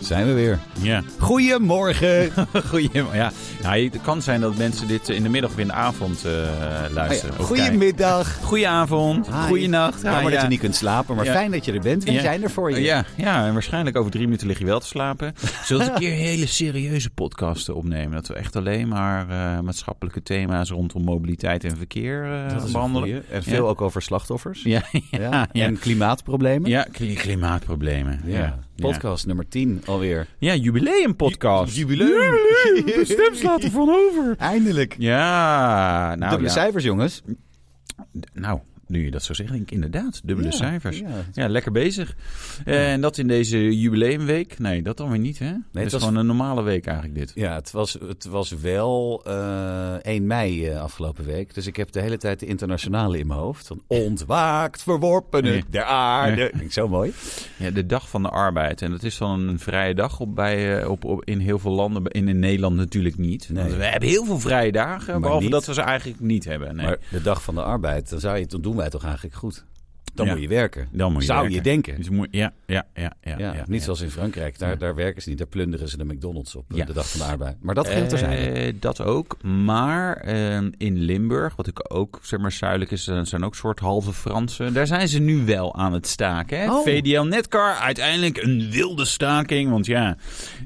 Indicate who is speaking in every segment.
Speaker 1: Zijn we weer.
Speaker 2: Ja.
Speaker 1: Goedemorgen.
Speaker 2: Goedemorgen. Ja. Nou, het kan zijn dat mensen dit in de middag of in de avond eh, luisteren.
Speaker 1: Oh
Speaker 2: of kijken.
Speaker 1: Goedemiddag.
Speaker 2: Goedenavond.
Speaker 1: Hi.
Speaker 2: Goeienacht. Ah,
Speaker 1: Jammer
Speaker 2: Ja,
Speaker 1: dat je
Speaker 2: ja.
Speaker 1: niet kunt slapen, maar
Speaker 2: Ja.
Speaker 1: fijn dat je er bent. We
Speaker 2: Ja.
Speaker 1: zijn er voor je.
Speaker 2: Ja, ja, en waarschijnlijk over drie minuten lig je wel te slapen. Zullen we een keer hele serieuze podcasten opnemen? Dat we echt alleen maar eh, maatschappelijke thema's rondom mobiliteit en verkeer eh,
Speaker 1: Dat is een
Speaker 2: behandelen.
Speaker 1: goeie. En veel
Speaker 2: Ja.
Speaker 1: ook over slachtoffers.
Speaker 2: Ja, ja, ja.
Speaker 1: Ja. En klimaatproblemen.
Speaker 2: Ja, kli- klimaatproblemen. Ja. Ja.
Speaker 1: Podcast nummer 10 alweer.
Speaker 2: Ja, jubileumpodcast.
Speaker 1: Ju- jubileum.
Speaker 2: Jubileum. Stem slaat er van over.
Speaker 1: Eindelijk.
Speaker 2: Ja, nou
Speaker 1: Dubbele
Speaker 2: ja.
Speaker 1: cijfers, jongens.
Speaker 2: Nou, nu je dat zo zegt, denk ik inderdaad. Dubbele
Speaker 1: Ja,
Speaker 2: cijfers. Ja.
Speaker 1: ja.
Speaker 2: lekker bezig. Eh, En dat in deze jubileumweek? Nee, dat dan weer niet, hè? het is
Speaker 1: was-
Speaker 2: gewoon een normale week eigenlijk dit.
Speaker 1: Ja, het was, het was wel eh 1 mei eh, afgelopen week. Dus ik heb de hele tijd de internationale in mijn hoofd. Van ontwaakt, verworpenen
Speaker 2: Ja.
Speaker 1: der aarde. Vind ik zo mooi.
Speaker 2: Ja, de dag van de arbeid. En dat is dan een vrije dag op bij, eh, op, op, in heel veel landen. In, in Nederland natuurlijk niet.
Speaker 1: Nee.
Speaker 2: Want we hebben heel veel vrije dagen,
Speaker 1: Maar
Speaker 2: behalve
Speaker 1: niet.
Speaker 2: dat we ze eigenlijk niet hebben. Nee.
Speaker 1: Maar de dag van de arbeid, dan, zou je, dan doen wij het toch eigenlijk goed. Dan
Speaker 2: Ja.
Speaker 1: moet je werken.
Speaker 2: dan moet je
Speaker 1: zou
Speaker 2: werken.
Speaker 1: je denken.
Speaker 2: Dus moet, ja, ja, ja, ja,
Speaker 1: Ja,
Speaker 2: ja,
Speaker 1: niet
Speaker 2: ja.
Speaker 1: zoals in Frankrijk. Daar, daar werken ze niet. Daar plunderen ze de McDonald's op eh,
Speaker 2: Ja.
Speaker 1: de dag van de arbeid. Maar dat geldt er zijn.
Speaker 2: Eh, dat ook. Maar ehm, in Limburg, wat ik ook zeg maar zuidelijk is, eh, zijn ook soort halve Fransen. Daar zijn ze nu wel aan het staken. Hè?
Speaker 1: Oh.
Speaker 2: VDL Netcar, uiteindelijk een wilde staking. Want ja,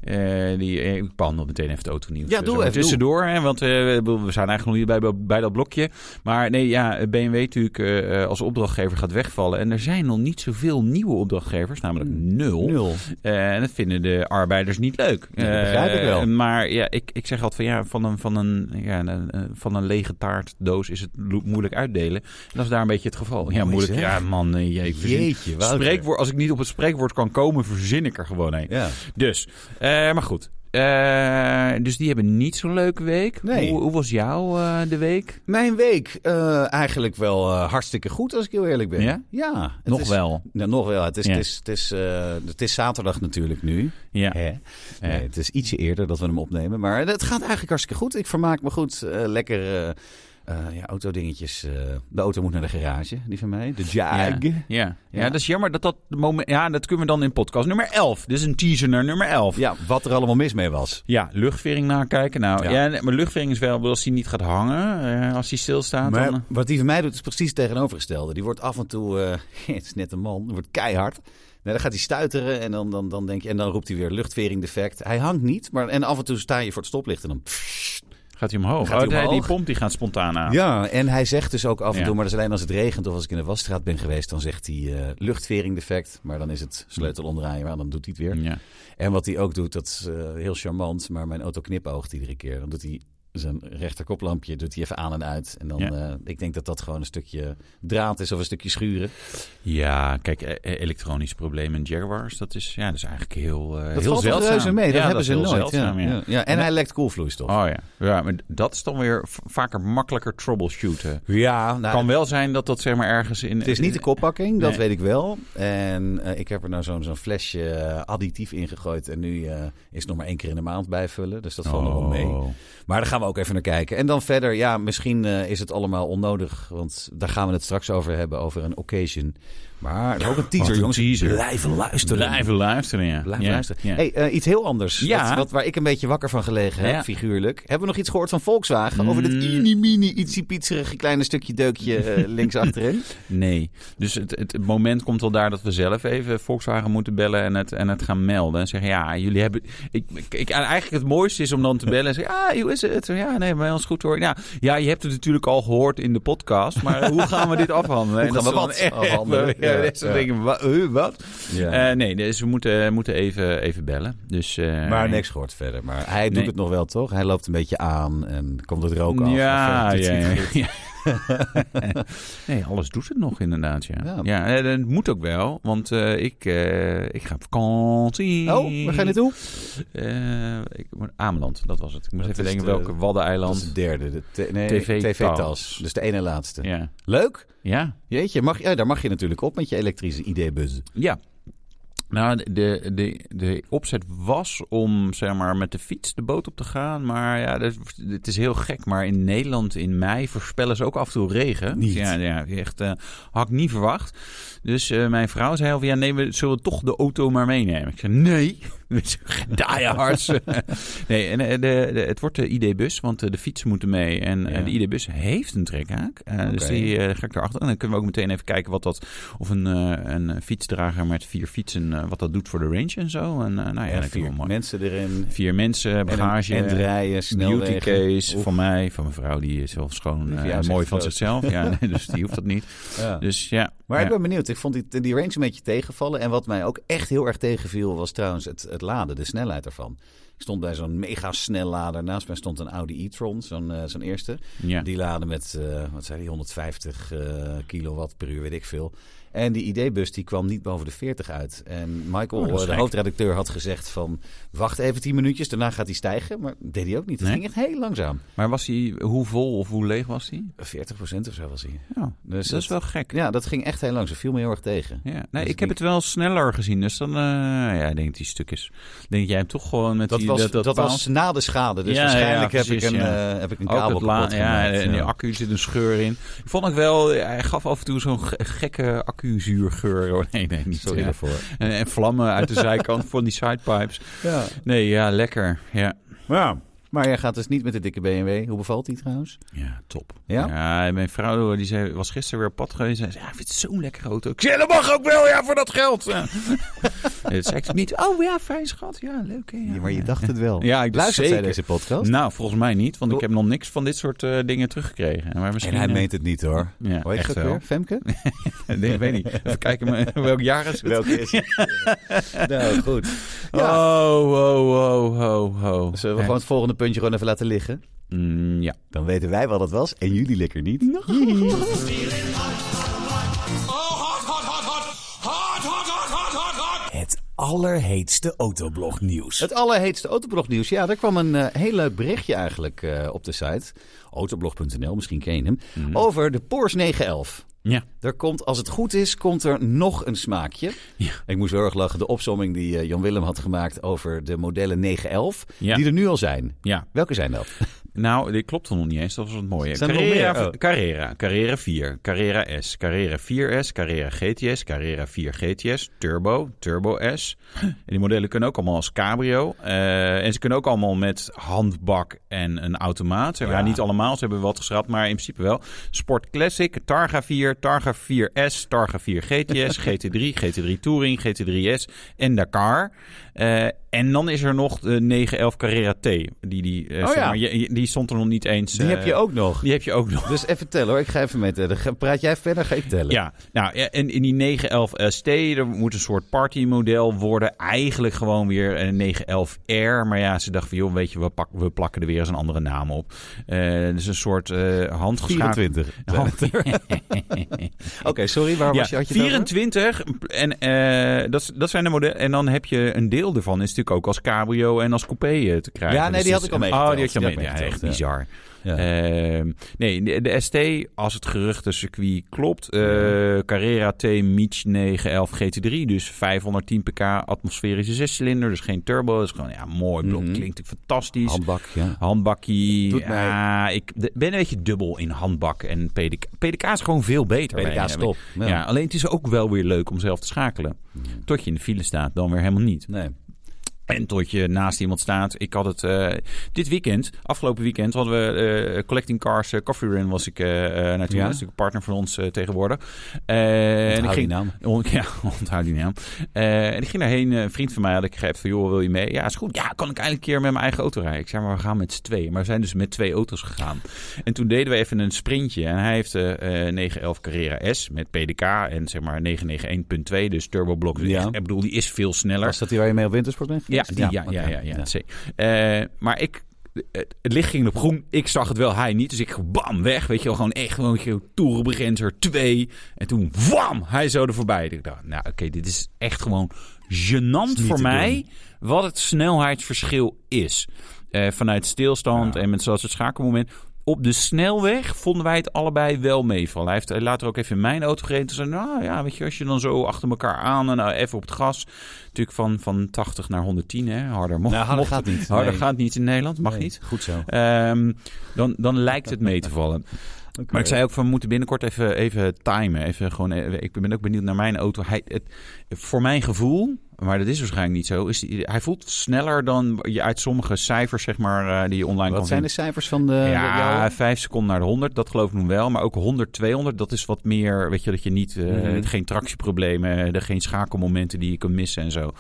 Speaker 2: eh, die, eh, ik behandel meteen even het autonieuws.
Speaker 1: Ja,
Speaker 2: eh,
Speaker 1: doe
Speaker 2: zo
Speaker 1: even,
Speaker 2: Tussendoor, hè, want eh, we we zijn eigenlijk nog niet bij, bij dat blokje. Maar nee, ja, BMW natuurlijk eh, eh, als opdrachtgever gaat wegvallen. En er zijn nog niet zoveel nieuwe opdrachtgevers, namelijk nul.
Speaker 1: Hmm. Nul.
Speaker 2: Eh, en dat vinden de arbeiders niet leuk.
Speaker 1: Nee, dat begrijp ik wel.
Speaker 2: Eh, maar ja, ik, ik zeg altijd van ja, van een, van een, ja, een- een- van een lege taartdoos is het lo- moeilijk uitdelen. En dat is daar een beetje het geval. Ja,
Speaker 1: Mooi
Speaker 2: moeilijk.
Speaker 1: zeg.
Speaker 2: Ja, man, eh, je, ik verzin-
Speaker 1: Jeetje, Wouter.
Speaker 2: spreekwoord, Als ik niet op het spreekwoord kan komen, verzin ik er gewoon een.
Speaker 1: Ja.
Speaker 2: Dus, eh, maar goed. Eh, dus die hebben niet zo'n leuke week.
Speaker 1: Nee.
Speaker 2: Hoe, hoe was jouw eh, de week?
Speaker 1: Mijn week eh, eigenlijk wel eh, hartstikke goed, als ik heel eerlijk ben.
Speaker 2: Ja?
Speaker 1: ja het
Speaker 2: Nog
Speaker 1: is-
Speaker 2: wel.
Speaker 1: Nou, nog wel. Het is,
Speaker 2: Ja.
Speaker 1: het, is, het, is, eh, het is zaterdag natuurlijk nu.
Speaker 2: Ja.
Speaker 1: Hè? Nee, het is ietsje eerder dat we hem opnemen. Maar het gaat eigenlijk hartstikke goed. Ik vermaak me goed. Eh, lekker eh, eh, ja, autodingetjes. eh, de auto moet naar de garage, die van mij. De Jag.
Speaker 2: Ja. Ja. ja,
Speaker 1: Ja.
Speaker 2: dat is jammer dat dat moment. Ja, dat kunnen we dan in podcast nummer 11. Dit is een teaser naar nummer 11.
Speaker 1: Ja, wat er allemaal mis mee was.
Speaker 2: Ja, luchtvering nakijken. Nou, ja.
Speaker 1: Ja.
Speaker 2: nee, maar luchtvering is wel ik bedoel, als die niet gaat hangen, eh, als die stilstaat.
Speaker 1: Maar
Speaker 2: dan, eh,
Speaker 1: wat die van mij doet, is precies het tegenovergestelde. Die wordt af en toe, eh, het is net een man, die wordt keihard. Nee, dan gaat hij stuiteren en dan, dan, dan, denk je, en dan roept hij weer luchtvering defect. Hij hangt niet, maar en af en toe sta je voor het stoplicht en dan...
Speaker 2: gaat hij omhoog.
Speaker 1: Gaat hij
Speaker 2: Oh, nee,
Speaker 1: omhoog?
Speaker 2: Die pomp die gaat spontaan aan.
Speaker 1: Ja, en hij zegt dus ook af en
Speaker 2: Ja.
Speaker 1: toe, maar dat is alleen als het regent of als ik in de wasstraat ben geweest, dan zegt hij eh, luchtvering defect. Maar dan is het sleutel omdraaien, maar dan doet hij het weer.
Speaker 2: Ja.
Speaker 1: En wat hij ook doet, dat is eh, heel charmant, maar mijn auto knipoogt iedere keer. Dan doet hij zijn rechterkoplampje doet hij even aan en uit. En dan,
Speaker 2: Ja.
Speaker 1: eh, ik denk dat dat gewoon een stukje draad is of een stukje schuren.
Speaker 2: Ja, kijk, eh, eh, elektronisch probleem in Jaguars, dat is, ja, dat is eigenlijk heel, eh
Speaker 1: Dat
Speaker 2: heel
Speaker 1: valt toch
Speaker 2: zeldzaam.
Speaker 1: reuze mee, dat
Speaker 2: Ja,
Speaker 1: hebben
Speaker 2: is
Speaker 1: ze
Speaker 2: heel
Speaker 1: nooit.
Speaker 2: zeldzaam,
Speaker 1: ja.
Speaker 2: ja.
Speaker 1: Ja. Ja, En hij lekt koelvloeistof.
Speaker 2: Oh ja. ja, maar dat is dan weer v- vaker makkelijker troubleshooten.
Speaker 1: Ja, nou,
Speaker 2: kan wel zijn dat dat zeg maar ergens in... Oh.
Speaker 1: Het is niet de koppakking, dat
Speaker 2: Nee.
Speaker 1: weet ik wel. En eh, ik heb er nou zo'n zo'n flesje eh, additief in gegooid. En nu eh, is het nog maar één keer in de maand bijvullen. Dus dat valt nog wel mee.
Speaker 2: Oh.
Speaker 1: Maar daar gaan we ook even naar kijken. En dan verder, ja, misschien eh, is het allemaal onnodig. Want daar gaan we het straks over hebben, over een occasion. Maar er is ook een teaser,
Speaker 2: een
Speaker 1: jongens.
Speaker 2: teaser.
Speaker 1: Blijven luisteren.
Speaker 2: Blijven luisteren, ja.
Speaker 1: Blijven
Speaker 2: Ja,
Speaker 1: luisteren.
Speaker 2: ja.
Speaker 1: Hey, eh, iets heel anders.
Speaker 2: Ja.
Speaker 1: Wat, wat, waar ik een beetje wakker van gelegen heb,
Speaker 2: Ja.
Speaker 1: figuurlijk. Hebben we nog iets gehoord van Volkswagen? Over dat
Speaker 2: Mm.
Speaker 1: mini-mini, ietsie pietserige kleine stukje deukje eh, links achterin?
Speaker 2: Nee. Dus het, het moment komt wel daar dat we zelf even Volkswagen moeten bellen en het, en het gaan melden. En zeggen, ja, jullie hebben... Ik, ik, ik- eigenlijk het mooiste is om dan te bellen en zeggen, ah, hoe is het? Ja, nee, bij ons goed hoor. Ja, ja, je hebt het natuurlijk al gehoord in de podcast, maar hoe gaan we dit afhandelen?
Speaker 1: Hoe gaan we wat afhandelen?
Speaker 2: Ja,
Speaker 1: Ja,
Speaker 2: dat soort
Speaker 1: ja.
Speaker 2: dingen. Wa- huh, wat?
Speaker 1: Ja.
Speaker 2: Eh, nee, dus we moeten, moeten even, even bellen. Dus, eh,
Speaker 1: Maar niks gehoord verder. Maar hij
Speaker 2: Nee.
Speaker 1: doet het nog wel, toch? Hij loopt een beetje aan en komt het rook af.
Speaker 2: Ja,
Speaker 1: Of, eh, doet
Speaker 2: ja,
Speaker 1: hij het
Speaker 2: ja,
Speaker 1: goed?
Speaker 2: ja. nee, alles doet het nog inderdaad, ja.
Speaker 1: Ja.
Speaker 2: Ja, en het moet ook wel, want eh, ik, eh, ik ga op vakantie.
Speaker 1: Oh, waar ga je naartoe?
Speaker 2: Eh, ik, Ameland, dat was het. Ik moest
Speaker 1: Dat
Speaker 2: even
Speaker 1: is
Speaker 2: denken
Speaker 1: de-
Speaker 2: welke
Speaker 1: Dat is
Speaker 2: Waddeneiland.
Speaker 1: de derde. De t- nee,
Speaker 2: TV -tas.
Speaker 1: TV-tas. Dus de ene laatste.
Speaker 2: Ja.
Speaker 1: Leuk.
Speaker 2: ja,
Speaker 1: Jeetje, mag, ja, daar mag je natuurlijk op met je elektrische ID-bus.
Speaker 2: ja. Nou, de- de, de, de opzet was om zeg maar, met de fiets de boot op te gaan. Maar ja, dat, het is heel gek. Maar in Nederland in mei voorspellen ze ook af en toe regen.
Speaker 1: Niet.
Speaker 2: Ja, ja echt, eh, had ik niet verwacht. Dus eh, mijn vrouw zei al van, ja, nee, we zullen toch de auto maar meenemen. Ik zei, nee, Die hards. nee, en eh, de, de- het wordt de ID-bus, want eh, de fietsen moeten mee. En eh,
Speaker 1: Ja.
Speaker 2: de ID-bus heeft een trekhaak. Eh, Dus
Speaker 1: Oké.
Speaker 2: die eh, ga ik erachter. En dan kunnen we ook meteen even kijken wat dat... Of een, eh, een eh, fietsdrager met vier fietsen, eh, wat dat doet voor de range en zo. En eh, nou ja,
Speaker 1: Ja,
Speaker 2: dat vind ik wel
Speaker 1: vier
Speaker 2: mooi.
Speaker 1: mensen erin.
Speaker 2: Vier mensen,
Speaker 1: En,
Speaker 2: bagage,
Speaker 1: en rijden,
Speaker 2: beauty
Speaker 1: snelwegen.
Speaker 2: case van mij, van mijn vrouw. Die is wel schoon
Speaker 1: Die
Speaker 2: eh,
Speaker 1: van jou is
Speaker 2: mooi
Speaker 1: echt
Speaker 2: van
Speaker 1: groot.
Speaker 2: zichzelf. Ja, nee, dus die hoeft dat niet.
Speaker 1: Ja.
Speaker 2: Dus ja.
Speaker 1: Maar
Speaker 2: ja.
Speaker 1: ik ben benieuwd. Ik vond die, die range een beetje tegenvallen. En wat mij ook echt heel erg tegenviel was trouwens het, het laden, de snelheid ervan. Ik stond bij zo'n mega snellader. Naast mij stond een Audi e-tron, zo'n eh, zo'n eerste.
Speaker 2: ja.
Speaker 1: Die laden met, eh, wat zei die, 150 eh, kilowatt per uur, weet ik veel. En die ID-bus die kwam niet boven de 40 uit. En Michael,
Speaker 2: Oh, dat is
Speaker 1: eh, de
Speaker 2: gek.
Speaker 1: hoofdredacteur, had gezegd van... wacht even 10 minuutjes, daarna gaat hij stijgen. Maar dat deed hij ook niet. Het
Speaker 2: Nee.
Speaker 1: ging echt heel langzaam.
Speaker 2: Maar was hij, hoe vol of hoe leeg was hij?
Speaker 1: 40 procent of zo was hij.
Speaker 2: Ja,
Speaker 1: Dus
Speaker 2: dat is wel gek.
Speaker 1: Ja, dat ging echt heel langzaam. Viel me heel erg tegen.
Speaker 2: Ja.
Speaker 1: Dus
Speaker 2: Nee, ik heb
Speaker 1: ik-
Speaker 2: het wel sneller gezien, dus dan eh, ja, ik denk dat die stuk is. Ik Denk jij hem toch gewoon met
Speaker 1: Dat
Speaker 2: die,
Speaker 1: was,
Speaker 2: dat,
Speaker 1: dat,
Speaker 2: dat,
Speaker 1: was na de schade. Dus
Speaker 2: Ja,
Speaker 1: waarschijnlijk
Speaker 2: ja,
Speaker 1: heb,
Speaker 2: precies,
Speaker 1: ik een,
Speaker 2: ja.
Speaker 1: eh, heb ik een
Speaker 2: Ook
Speaker 1: kabel
Speaker 2: het la-
Speaker 1: kapot
Speaker 2: ja,
Speaker 1: gemaakt.
Speaker 2: en die
Speaker 1: Ja.
Speaker 2: accu zit een scheur in. Ik vond ik wel, hij gaf af en toe zo'n ge- gekke accuzuurgeur. Oh, nee, nee, niet.
Speaker 1: Sorry
Speaker 2: ja.
Speaker 1: daarvoor.
Speaker 2: En, en vlammen uit de zijkant van die sidepipes.
Speaker 1: Ja.
Speaker 2: Nee, ja, lekker. Ja,
Speaker 1: Maar jij gaat dus niet met de dikke BMW. Hoe bevalt die trouwens?
Speaker 2: ja top.
Speaker 1: Ja?
Speaker 2: en mijn vrouw die zei, was gisteren weer op pad geweest. En zei, ja, ik vind het zo'n lekkere auto. Ik zei, dat mag ook wel, ja, voor dat geld. Ja. dat zei ik niet. Oh ja, fijn schat. Ja, leuk. Hè, ja.
Speaker 1: Ja, maar je dacht het wel.
Speaker 2: Ja, ik
Speaker 1: Luistert
Speaker 2: zeker.
Speaker 1: zij deze podcast?
Speaker 2: Nou, volgens mij niet, want ik heb nog niks van dit soort eh, dingen teruggekregen. Maar misschien,
Speaker 1: En hij
Speaker 2: eh,
Speaker 1: meent het niet hoor.
Speaker 2: ja,
Speaker 1: Hoe heet
Speaker 2: echt
Speaker 1: ze ook
Speaker 2: wel.
Speaker 1: weer? Femke?
Speaker 2: nee, ik weet niet. Even kijken maar, welk jaar is het.
Speaker 1: Welke is het? nou, goed. Ja.
Speaker 2: Oh, oh, oh, oh, oh.
Speaker 1: Zullen we gewoon het volgende puntje gewoon even laten liggen?
Speaker 2: Mm, ja.
Speaker 1: Dan weten wij wat het was en jullie lekker niet.
Speaker 3: Het allerheetste autoblognieuws.
Speaker 1: Het allerheetste autoblognieuws. Ja, daar kwam een eh, heel leuk berichtje eigenlijk eh, op de site. Autoblog.nl, misschien ken je hem. Over de Porsche 911.
Speaker 2: Ja.
Speaker 1: Er komt, als het goed is, komt er nog een smaakje.
Speaker 2: Ja.
Speaker 1: Ik moest heel erg lachen. De opzomming die eh, Jan Willem had gemaakt over de modellen 911.
Speaker 2: Ja.
Speaker 1: Die er nu al zijn.
Speaker 2: Ja,
Speaker 1: Welke zijn dat?
Speaker 2: nou, dit klopt dan nog niet eens. Dat was het mooie.
Speaker 1: Zijn er nog
Speaker 2: Carrera, eh,
Speaker 1: meer? Oh.
Speaker 2: Carrera, Carrera 4, Carrera S, Carrera 4S, Carrera GTS, Carrera 4 GTS, Turbo, Turbo S. En die modellen kunnen ook allemaal als cabrio. Eh, en ze kunnen ook allemaal met handbak en een automaat. Ja.
Speaker 1: Ja.
Speaker 2: niet allemaal, ze hebben wat geschrapt, maar in principe wel. Sport Classic, Targa 4, Targa 4S, Targa 4 GTS, GT3, GT3 Touring, GT3S en Dakar. Eh, en dan is er nog de 911 Carrera T. Die, die, eh,
Speaker 1: Oh
Speaker 2: zeg
Speaker 1: ja.
Speaker 2: maar, je- je- die stond er nog niet eens.
Speaker 1: Die
Speaker 2: eh,
Speaker 1: heb je ook nog.
Speaker 2: Die heb je ook nog.
Speaker 1: Dus even tellen hoor. Ik ga even met tellen. Ga- Praat jij verder, ga ik tellen.
Speaker 2: Ja, nou, ja, en in die 911 ST, er moet een soort partymodel worden. Eigenlijk gewoon weer een 911 R. Maar ja, ze dachten van, joh, weet je, we, pak, we plakken er weer eens een andere naam op. Eh, dus een soort eh handgeschakeld...
Speaker 1: 24.
Speaker 2: Hand-
Speaker 1: Oké, sorry. Waar was je? Had je het over?
Speaker 2: 24. En eh, dat, is- dat zijn de modellen. En dan heb je een deel ervan is natuurlijk ook als cabrio en als coupé eh, te krijgen.
Speaker 1: Ja, nee, die
Speaker 2: dat
Speaker 1: had
Speaker 2: is-
Speaker 1: ik al
Speaker 2: Oh,
Speaker 1: meegeteld.
Speaker 2: die had je al
Speaker 1: Die had ik
Speaker 2: meegeteld. Ja, echt
Speaker 1: meegeteld, ja.
Speaker 2: bizar.
Speaker 1: Ja.
Speaker 2: Ehm, nee, de, de ST, als het geruchtencircuit klopt, eh, Carrera T Mich 911 GT3, dus 510 pk atmosferische zescilinder, dus geen turbo. Dat is gewoon ja, mooi blok,
Speaker 1: Mhm.
Speaker 2: klinkt fantastisch.
Speaker 1: Handbak, ja.
Speaker 2: Handbakkie.
Speaker 1: Doet mij-
Speaker 2: Ja, ik de- ben een beetje dubbel in handbak en PDK. PDK is gewoon veel beter.
Speaker 1: PDK
Speaker 2: bij-
Speaker 1: is top,
Speaker 2: Ja.
Speaker 1: ja. Mhm.
Speaker 2: alleen het is ook wel weer leuk om zelf te schakelen. Tot je in de file staat, dan weer helemaal niet.
Speaker 1: Nee.
Speaker 2: En tot je naast iemand staat. Ik had het eh, dit weekend, afgelopen weekend, hadden we eh, Collecting Cars eh, Coffee Run was ik eh eh, naartoe. Dat is natuurlijk een partner van ons eh, tegenwoordig. Eh, en ik
Speaker 1: Onthoud die
Speaker 2: ging,
Speaker 1: naam.
Speaker 2: On- ja, onthoud die naam. Eh, en ik ging daarheen. eh, Een vriend van mij had ik geappt van, joh, wil je mee? Ja, is goed. Ja, kan ik eindelijk een keer met mijn eigen auto rijden? Ik zei, maar we gaan met z'n tweeën. Maar we zijn dus met twee auto's gegaan. En toen deden we even een sprintje. En hij heeft eh eh 911 Carrera S met PDK en zeg maar 991.2, dus turboblok. Dus
Speaker 1: Ja.
Speaker 2: echt- Ik bedoel, die is veel sneller.
Speaker 1: Was dat die waar je mee op wintersport bent
Speaker 2: Ja,
Speaker 1: geweest?
Speaker 2: die, ja, ja, ja, ja,
Speaker 1: oké.
Speaker 2: zeker. Eh, maar ik, het het licht ging op groen. Ik zag het wel, hij niet. Dus ik bam, weg. Weet je wel, gewoon echt gewoon een toerenbegrenzer 2. En toen wam, hij zo er voorbij. Ik dacht, nou oké, dit is echt gewoon gênant
Speaker 1: te
Speaker 2: voor
Speaker 1: doen.
Speaker 2: mij wat het snelheidsverschil is. Eh, vanuit stilstand
Speaker 1: Ja.
Speaker 2: en met zoals het schakelmoment. Op de snelweg vonden wij het allebei wel meevallen. Hij heeft eh, later ook even in mijn auto gereden. Toen zei hij, nou ja, weet je, als je dan zo achter elkaar aan en nou even op het gas. Natuurlijk van, van 80 naar 110, hè, harder mocht.
Speaker 1: Nou, harder
Speaker 2: mocht-
Speaker 1: gaat niet.
Speaker 2: harder
Speaker 1: Nee.
Speaker 2: gaat niet in Nederland, mag
Speaker 1: Nee,
Speaker 2: niet.
Speaker 1: Goed zo.
Speaker 2: Ehm, dan, dan lijkt het mee te vallen. Maar ik zei ook van, we moeten binnenkort eh, even, even timen. Even gewoon, even- ik ben ook benieuwd naar mijn auto. Hij, het, voor mijn gevoel maar dat is waarschijnlijk niet zo. Is, die- hij voelt sneller dan je uit sommige cijfers, zeg maar, eh, die je online
Speaker 1: Wat
Speaker 2: kan
Speaker 1: zijn
Speaker 2: vinden.
Speaker 1: de cijfers van de...
Speaker 2: Ja,
Speaker 1: jouw-
Speaker 2: vijf seconden naar de 100, dat geloof ik nu wel. Maar ook 100, 200, dat is wat meer, weet je, dat je niet, eh,
Speaker 1: Mhm.
Speaker 2: geen tractieproblemen, eh, er geen schakelmomenten die je kan missen en zo.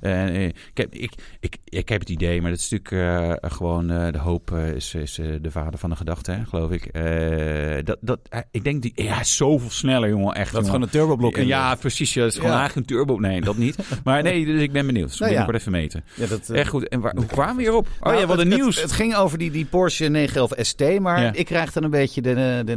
Speaker 2: Eh, eh, ik, heb, ik, ik, ik heb het idee, maar dat is natuurlijk eh, gewoon, eh, de hoop eh, is, is eh, de vader van de gedachte, hè, geloof ik. Eh, dat, dat, hij- ik denk, die, ja, hij is zoveel sneller, jongen, echt.
Speaker 1: dat is
Speaker 2: jongen.
Speaker 1: gewoon een turboblok in.
Speaker 2: ja, precies. Ja, dat is gewoon
Speaker 1: Ja.
Speaker 2: eigenlijk een turbo. Nee, dat niet. Maar nee, dus ik ben benieuwd. Dus
Speaker 1: Nou
Speaker 2: ik
Speaker 1: ja.
Speaker 2: word even meten.
Speaker 1: Ja, dat, eh,
Speaker 2: Echt goed. En waar, hoe kwamen we hierop? Oh
Speaker 1: nou,
Speaker 2: ja, wat
Speaker 1: het-
Speaker 2: een
Speaker 1: het-
Speaker 2: nieuws.
Speaker 1: Het, ging over die, die Porsche 911 ST, maar
Speaker 2: Ja.
Speaker 1: ik krijg dan een beetje de, eh, de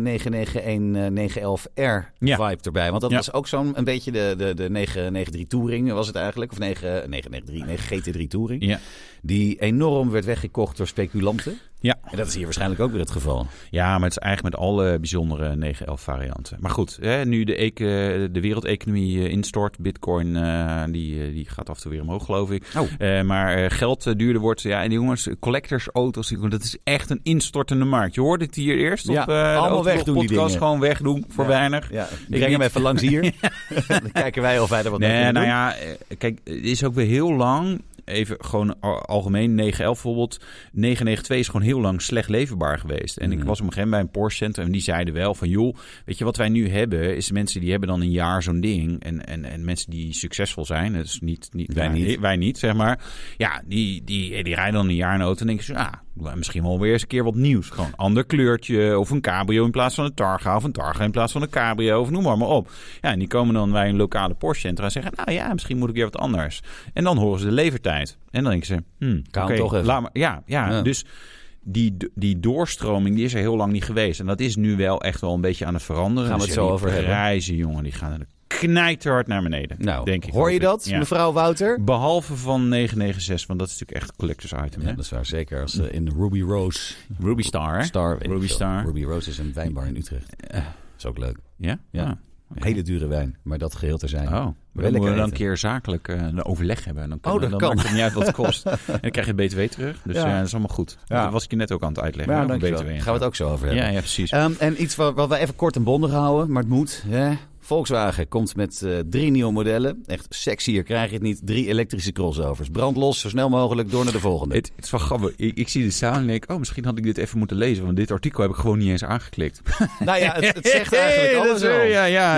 Speaker 1: eh, 991 911R
Speaker 2: Ja.
Speaker 1: vibe erbij. Want dat
Speaker 2: Ja.
Speaker 1: was ook zo'n een beetje de, de, de 993 Touring was het eigenlijk. Of eh, 9, 993, 9 GT3 Touring.
Speaker 2: Ja.
Speaker 1: Die enorm werd weggekocht door speculanten.
Speaker 2: Ja.
Speaker 1: En dat is hier waarschijnlijk ook weer het geval.
Speaker 2: Ja, maar het is eigenlijk met alle bijzondere 911 varianten. Maar goed, hè, nu de, ec- eh, de wereldeconomie eh, instort, bitcoin eh, die, eh, die gaat af en toe weer omhoog, geloof ik.
Speaker 1: Oh.
Speaker 2: Eh, maar eh, geld eh, duurder wordt. Ja, en die jongens, collectorsauto's, die- dat is echt een instortende markt. Je hoorde het hier eerst
Speaker 1: Ja,
Speaker 2: op eh, de
Speaker 1: allemaal
Speaker 2: Autoblog
Speaker 1: wegdoen die
Speaker 2: podcast.
Speaker 1: dingen.
Speaker 2: Gewoon wegdoen, voor
Speaker 1: Ja.
Speaker 2: weinig.
Speaker 1: Ja,
Speaker 2: Ik
Speaker 1: breng hem
Speaker 2: niet.
Speaker 1: even langs hier. dan kijken wij of wij er wat mee
Speaker 2: Nee,
Speaker 1: kunnen
Speaker 2: nou
Speaker 1: doen.
Speaker 2: ja, eh, kijk, het is ook weer heel lang. Even gewoon al- algemeen, 911 bijvoorbeeld. 992 is gewoon heel lang slecht leverbaar geweest. En ik
Speaker 1: Mhm.
Speaker 2: was op een gegeven moment bij een Porsche Center en die zeiden wel van... joh, weet je wat wij nu hebben, is mensen die hebben dan een jaar zo'n ding. En, en, en mensen die succesvol zijn, dus niet, niet,
Speaker 1: Wij
Speaker 2: wij,
Speaker 1: niet.
Speaker 2: niet. wij niet, zeg maar. Ja, die, die, die rijden dan een jaar in de auto en denken ze... ja, misschien wel weer eens een keer wat nieuws. Gewoon ander kleurtje of een cabrio in plaats van een Targa... of een Targa in plaats van een cabrio of noem maar, maar op. Ja, en die komen dan bij een lokale Porsche Centra en zeggen... nou ja, misschien moet ik weer wat anders. En dan horen ze de levertijd. En dan denken ze... Hmm,
Speaker 1: Kan
Speaker 2: oké,
Speaker 1: toch even.
Speaker 2: laat maar- ja, ja,
Speaker 1: Ja.
Speaker 2: dus... Die, die doorstroming die is er heel lang niet geweest. En dat is nu wel echt wel een beetje aan het veranderen.
Speaker 1: Gaan we
Speaker 2: Dus
Speaker 1: het zo
Speaker 2: ja, die
Speaker 1: over hebben.
Speaker 2: prijzen, jongen, die gaan er knijterhard naar beneden.
Speaker 1: Nou,
Speaker 2: denk ik,
Speaker 1: hoor je
Speaker 2: hoop ik.
Speaker 1: dat,
Speaker 2: Ja.
Speaker 1: mevrouw Wouter?
Speaker 2: Behalve van 996, want dat is natuurlijk echt een collectors item.
Speaker 1: Ja,
Speaker 2: hè?
Speaker 1: dat is waar. Zeker als eh, in de Ruby Rose
Speaker 2: Ruby Star, hè?
Speaker 1: Star. weet ik
Speaker 2: Ruby
Speaker 1: veel.
Speaker 2: Star.
Speaker 1: Ruby Rose is een wijnbar in Utrecht. is ook leuk.
Speaker 2: Ja?
Speaker 1: Ja. Hele dure wijn, maar dat geheel terzijn.
Speaker 2: Oh, dan
Speaker 1: lekker
Speaker 2: moeten we dan
Speaker 1: eten.
Speaker 2: een keer zakelijk eh, een overleg hebben. En dan
Speaker 1: Oh, dat
Speaker 2: dan
Speaker 1: kan.
Speaker 2: maakt het niet uit wat het kost. en dan krijg je BTW terug. Dus
Speaker 1: Ja.
Speaker 2: ja, dat is allemaal goed.
Speaker 1: Ja.
Speaker 2: Dat was ik je net ook aan het uitleggen.
Speaker 1: Ja,
Speaker 2: hè, over
Speaker 1: dankjewel.
Speaker 2: BTW en
Speaker 1: Gaan we het ook zo over
Speaker 2: zo.
Speaker 1: hebben.
Speaker 2: Ja, ja, precies.
Speaker 1: Ehm, en iets wat, wat we even kort en bondig houden, maar het moet. Hè? Volkswagen komt met eh, drie nieuwe modellen. Echt sexier krijg je het niet. Drie elektrische crossovers. Brandlos, zo snel mogelijk, door naar de volgende.
Speaker 2: Het, het is wel grappig. Ik, ik zie dit staan en denk, oh, misschien had ik dit even moeten lezen. Want dit artikel heb ik gewoon niet eens aangeklikt.
Speaker 1: nou ja, het, het zegt eigenlijk
Speaker 2: Hey, dat
Speaker 1: alles
Speaker 2: is-
Speaker 1: wel.
Speaker 2: Ja, ja,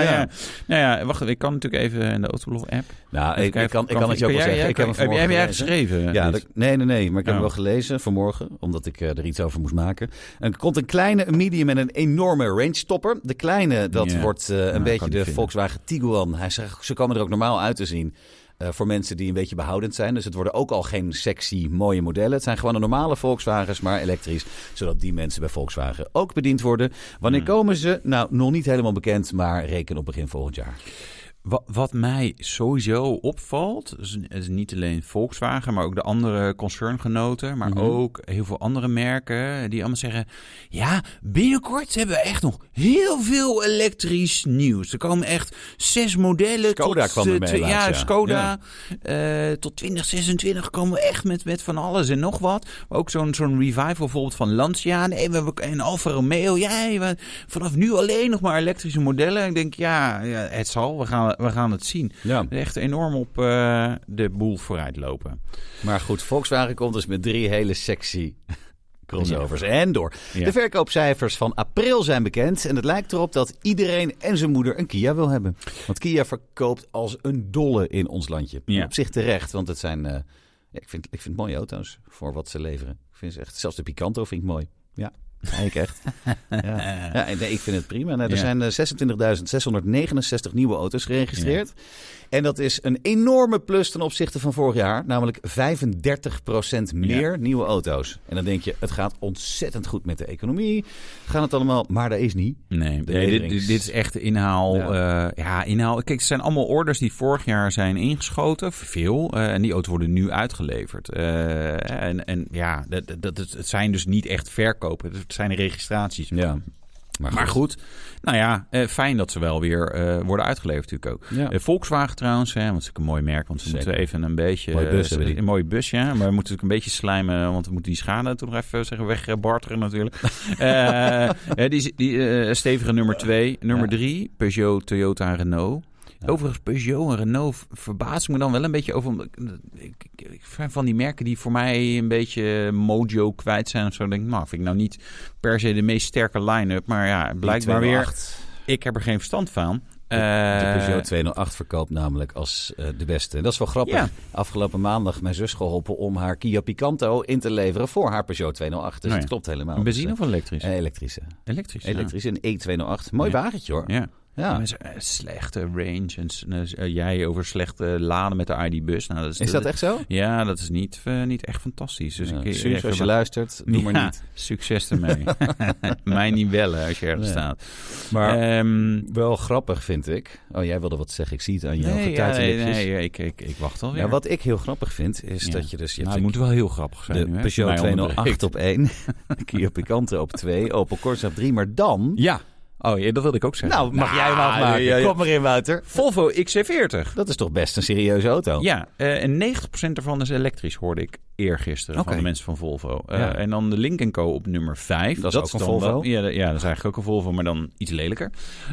Speaker 1: Ja.
Speaker 2: ja. Nou ja, wacht. Ik kan natuurlijk even in de Autoblog-app.
Speaker 1: Nou,
Speaker 2: Even
Speaker 1: ik, ik
Speaker 2: kijken,
Speaker 1: kan, ik kan het je ook
Speaker 2: jij-
Speaker 1: wel
Speaker 2: jij-
Speaker 1: zeggen. ik heb hem
Speaker 2: heb, heb jij
Speaker 1: vanmorgen
Speaker 2: even
Speaker 1: gelezen.
Speaker 2: geschreven?
Speaker 1: Ja,
Speaker 2: dit?
Speaker 1: dat- nee, nee, nee. Maar ik heb
Speaker 2: eh, Oh.
Speaker 1: hem wel gelezen vanmorgen, omdat ik eh, er iets over moest maken. En er komt een kleine, een medium en een enorme range topper. De kleine, dat
Speaker 2: Ja.
Speaker 1: wordt eh,
Speaker 2: kan
Speaker 1: een beetje
Speaker 2: ik
Speaker 1: de
Speaker 2: vinden.
Speaker 1: Volkswagen Tiguan. Hij, zegt, ze komen er ook normaal uit te zien. eh, voor mensen die een beetje behoudend zijn. Dus het worden ook al geen sexy, mooie modellen. Het zijn gewoon de normale Volkswagens, maar elektrisch. Zodat die mensen bij Volkswagen ook bediend worden. Wanneer
Speaker 2: Hmm.
Speaker 1: komen ze? Nou, nog niet helemaal bekend, maar reken op begin volgend jaar.
Speaker 2: Wat, wat mij sowieso opvalt, is, is niet alleen Volkswagen, maar ook de andere concerngenoten, maar
Speaker 1: Mhm.
Speaker 2: ook heel veel andere merken die allemaal zeggen: ja, binnenkort hebben we echt nog heel veel elektrisch nieuws. Er komen echt zes modellen.
Speaker 1: Skoda
Speaker 2: tot,
Speaker 1: kwam er
Speaker 2: eh,
Speaker 1: mee
Speaker 2: tw-
Speaker 1: laatst,
Speaker 2: ja,
Speaker 1: ja.
Speaker 2: Skoda. eh, tot 2026 komen we echt met, met van alles en nog wat. Maar ook zo'n zo'n revival bijvoorbeeld van Lancia nee, we hebben ook- en Alfa Romeo. Ja, we- vanaf nu alleen nog maar elektrische modellen. Ik denk, ja, ja het zal. We gaan, we gaan het zien.
Speaker 1: Ja.
Speaker 2: Echt enorm op eh, de boel vooruit lopen.
Speaker 1: Maar goed, Volkswagen komt dus met drie hele sexy crossovers. En door.
Speaker 2: Ja.
Speaker 1: De verkoopcijfers van april zijn bekend. En het lijkt erop dat iedereen en zijn moeder een Kia wil hebben. Want Kia verkoopt als een dolle in ons landje.
Speaker 2: Ja.
Speaker 1: Op zich terecht, want het zijn... eh, ja, ik, vind, ik vind mooie auto's voor wat ze leveren. Ik vind ze echt, zelfs de Picanto vind ik mooi. Ja, ik echt. ja. Ja, nee, ik vind het prima. Nou, er
Speaker 2: Eh. Ja.
Speaker 1: zijn eh, 26.669 nieuwe auto's geregistreerd. En dat is een enorme plus ten opzichte van vorig jaar. Namelijk 35% meer nieuwe auto's. En dan denk je, het gaat ontzettend goed met de economie. Gaan het allemaal, maar dat is niet.
Speaker 2: Nee,
Speaker 1: De
Speaker 2: nee, dit,
Speaker 1: leverings.
Speaker 2: dit is echt de inhaal. Ja. ja, inhaal. Kijk, het zijn allemaal orders die vorig jaar zijn ingeschoten. Veel. eh, en die auto's worden nu uitgeleverd. Eh, en, en ja, dat, dat- dat, het zijn dus niet echt verkopen. Het zijn registraties.
Speaker 1: Maar
Speaker 2: Maar goed, nou ja, eh, fijn dat ze wel weer eh, worden uitgeleverd natuurlijk ook.
Speaker 1: Ja.
Speaker 2: Eh, Volkswagen trouwens, hè, want het is ook een mooi merk, want ze
Speaker 1: Zeker.
Speaker 2: moeten even een beetje...
Speaker 1: Mooie bus
Speaker 2: eh,
Speaker 1: hebben die.
Speaker 2: Een mooie bus, ja. Maar we moeten natuurlijk een beetje slijmen, want we moeten die schade toch nog even zeggen, wegbarteren natuurlijk. Eh, eh, die is- die eh, stevige nummer twee. Nummer
Speaker 1: Ja.
Speaker 2: drie, Peugeot, Toyota en Renault. Overigens, Peugeot en Renault verbaas ik me dan wel een beetje over. omdat Ik, ik, ik- ik vind van die merken die voor mij een beetje mojo kwijt zijn of zo. denk ik, nou, vind ik nou niet per se de meest sterke line-up. Maar ja, blijkbaar weer,
Speaker 1: 208.
Speaker 2: ik heb er geen verstand van.
Speaker 1: De, de
Speaker 2: Eh,
Speaker 1: Peugeot 208 verkoopt namelijk als eh, de beste. En dat is wel grappig.
Speaker 2: Ja.
Speaker 1: Afgelopen maandag mijn zus geholpen om haar Kia Picanto in te leveren voor haar Peugeot 208. Dus
Speaker 2: Nou ja.
Speaker 1: het klopt helemaal.
Speaker 2: een benzine
Speaker 1: Dus,
Speaker 2: of een elektrisch?
Speaker 1: eh, Elektrische.
Speaker 2: elektrisch. ja.
Speaker 1: Elektrische, een E208. Mooi
Speaker 2: Ja.
Speaker 1: wagentje hoor.
Speaker 2: Ja.
Speaker 1: Ja.
Speaker 2: Maar ze- eh, slechte range. En s- eh, s- eh, jij over slechte laden met de ID-bus. Nou, dat is,
Speaker 1: Is dat echt zo?
Speaker 2: Ja, dat is niet, eh, niet echt fantastisch. Dus
Speaker 1: Ja,
Speaker 2: ik,
Speaker 1: Suus,
Speaker 2: ik-
Speaker 1: als je luistert, doe maar
Speaker 2: Ja,
Speaker 1: niet.
Speaker 2: Succes ermee. Mij niet bellen als je ergens
Speaker 1: Nee.
Speaker 2: staat.
Speaker 1: Maar
Speaker 2: Ehm,
Speaker 1: wel grappig vind ik. Oh, jij wilde wat zeggen. Ik zie het aan je
Speaker 2: nee,
Speaker 1: nee,
Speaker 2: ja, nee, nee, ik, ik, ik wacht alweer.
Speaker 1: Ja, wat ik heel grappig vind, is
Speaker 2: Ja.
Speaker 1: dat je dus... Je
Speaker 2: nou,
Speaker 1: hebt
Speaker 2: het moet wel heel grappig zijn.
Speaker 1: de
Speaker 2: nu, hè,
Speaker 1: Peugeot
Speaker 2: mij onder de-
Speaker 1: 208 op 1, Kia Picanto op 2, Opel Corsa op 3. Maar dan...
Speaker 2: Ja. Oh, ja, dat wilde ik ook zeggen.
Speaker 1: Nou, mag jij hem
Speaker 2: Nou,
Speaker 1: afmaken.
Speaker 2: ja, ja.
Speaker 1: Kom maar in, Wouter.
Speaker 2: Volvo XC40.
Speaker 1: Dat is toch best een serieuze auto?
Speaker 2: Ja, eh, en 90% daarvan is elektrisch, hoorde ik eergisteren
Speaker 1: Oké.
Speaker 2: van de mensen van Volvo. Eh,
Speaker 1: Ja.
Speaker 2: En dan de Link Co. op nummer 5.
Speaker 1: Dat is ook een
Speaker 2: dan
Speaker 1: Volvo?
Speaker 2: wel- ja, dat- ja, dat is eigenlijk ook een Volvo, maar dan iets lelijker.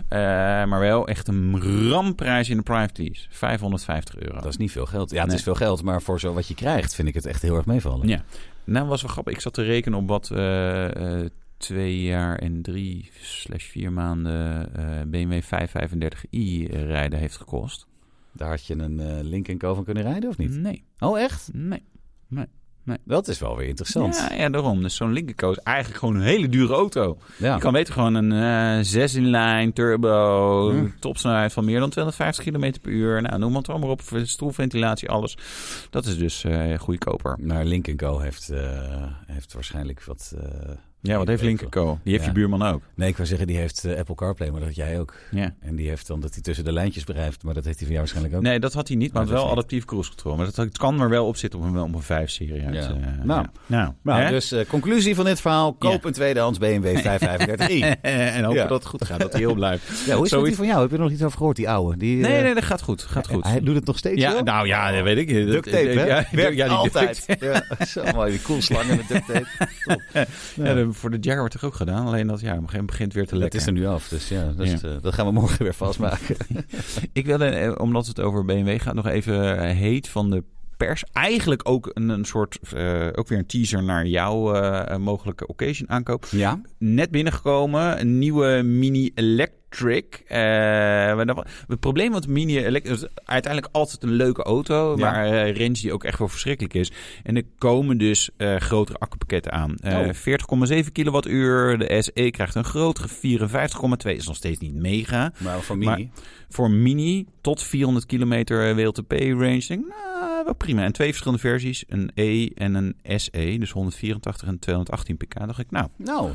Speaker 2: Eh, maar wel echt een ramprijs in de private lease. 550 euro.
Speaker 1: Nou, Dat is niet veel geld. Ja, het
Speaker 2: Nee.
Speaker 1: is veel geld, maar voor zo wat je krijgt vind ik het echt heel erg meevallen.
Speaker 2: Ja. Nou, was wel grappig. Ik zat te rekenen op wat eh, eh, twee jaar en drie slash vier maanden eh, BMW 535i rijden heeft gekost.
Speaker 1: Daar had je een eh Lincoln Co van kunnen rijden of niet?
Speaker 2: Nee,
Speaker 1: Oh, echt?
Speaker 2: nee.
Speaker 1: Dat is wel weer interessant.
Speaker 2: Ja, ja, daarom. Dus zo'n Lincoln is eigenlijk gewoon een hele dure auto.
Speaker 1: Ja.
Speaker 2: Je kan weten gewoon een eh zes in lijn, turbo,
Speaker 1: Hm.
Speaker 2: topsnelheid van meer dan 250 km per uur. Nou, noem het allemaal op. Stoelventilatie, alles. Dat is dus eh, goedkoper.
Speaker 1: Maar Lincoln Co heeft, eh, heeft waarscheinlijk wat... eh,
Speaker 2: Ja, wat
Speaker 1: Ik
Speaker 2: heeft
Speaker 1: weet
Speaker 2: Lincoln Co? Die heeft
Speaker 1: Ja.
Speaker 2: je buurman ook.
Speaker 1: Nee, ik wou zeggen, die heeft eh, Apple CarPlay, maar dat had jij ook.
Speaker 2: Ja.
Speaker 1: En die heeft dan dat hij tussen de lijntjes bereikt, maar dat heeft hij van jou waarschijnlijk ook.
Speaker 2: Nee, dat had hij niet, maar
Speaker 1: Oh,
Speaker 2: het wel
Speaker 1: dat is niet.
Speaker 2: adaptief cruise control. Maar dat, het kan er wel op zitten op een, op een 5-serie.
Speaker 1: Ja.
Speaker 2: nou,
Speaker 1: Nou.
Speaker 2: ja. nou,
Speaker 1: Nou,
Speaker 2: hè?
Speaker 1: dus eh, conclusie van dit verhaal. Koop
Speaker 2: Ja.
Speaker 1: een tweedehands BMW 535i.
Speaker 2: en hopen
Speaker 1: Ja.
Speaker 2: dat het goed gaat, dat hij heel blijft.
Speaker 1: ja, hoe is dat die
Speaker 2: Zoiets-
Speaker 1: van jou? Heb je er nog iets over gehoord, die oude? Die, eh,
Speaker 2: Nee, nee, dat gaat goed. Gaat goed.
Speaker 1: Hij doet het nog steeds,
Speaker 2: Ja,
Speaker 1: joh?
Speaker 2: nou ja, dat weet ik. Dat-
Speaker 1: Duct tape, hè?
Speaker 2: Ja,
Speaker 1: Werkt
Speaker 2: ja, die duct
Speaker 1: altijd. Ja, zo mooi, die koelslangen met duct tape.
Speaker 2: tape. Ja, dat- eh, voor de Jaguar wordt het ook gedaan, alleen dat ja, op een gegeven moment begint weer te
Speaker 1: Dat
Speaker 2: lekken.
Speaker 1: is er nu af, dus ja, dat, is, eh, dat gaan we morgen weer vastmaken.
Speaker 2: Ik wilde, eh, omdat het over BMW gaat, nog even eh, heet van de pers. Eigenlijk ook een, een soort, eh, ook weer een teaser naar jouw eh, mogelijke occasion aankoop.
Speaker 1: Ja?
Speaker 2: net binnengekomen. Een nieuwe Mini Electric. Eh, maar dan- het probleem wat Mini Electric... is uiteindelijk altijd een leuke auto.
Speaker 1: Ja.
Speaker 2: Maar eh, range die ook echt wel verschrikkelijk is. En er komen dus eh, grotere accupakketten aan. Eh,
Speaker 1: Oh.
Speaker 2: 40,7 kilowattuur. De SE krijgt een grotere 54,2. Is nog steeds niet mega.
Speaker 1: Maar van
Speaker 2: Maar-
Speaker 1: Mini?
Speaker 2: Voor Mini tot 400 kilometer eh, WLTP range. Denk, ik, nou, wel prima. En twee verschillende versies. Een E en een SE. Dus 184 en 218 pk. dacht ik, nou,
Speaker 1: Nou,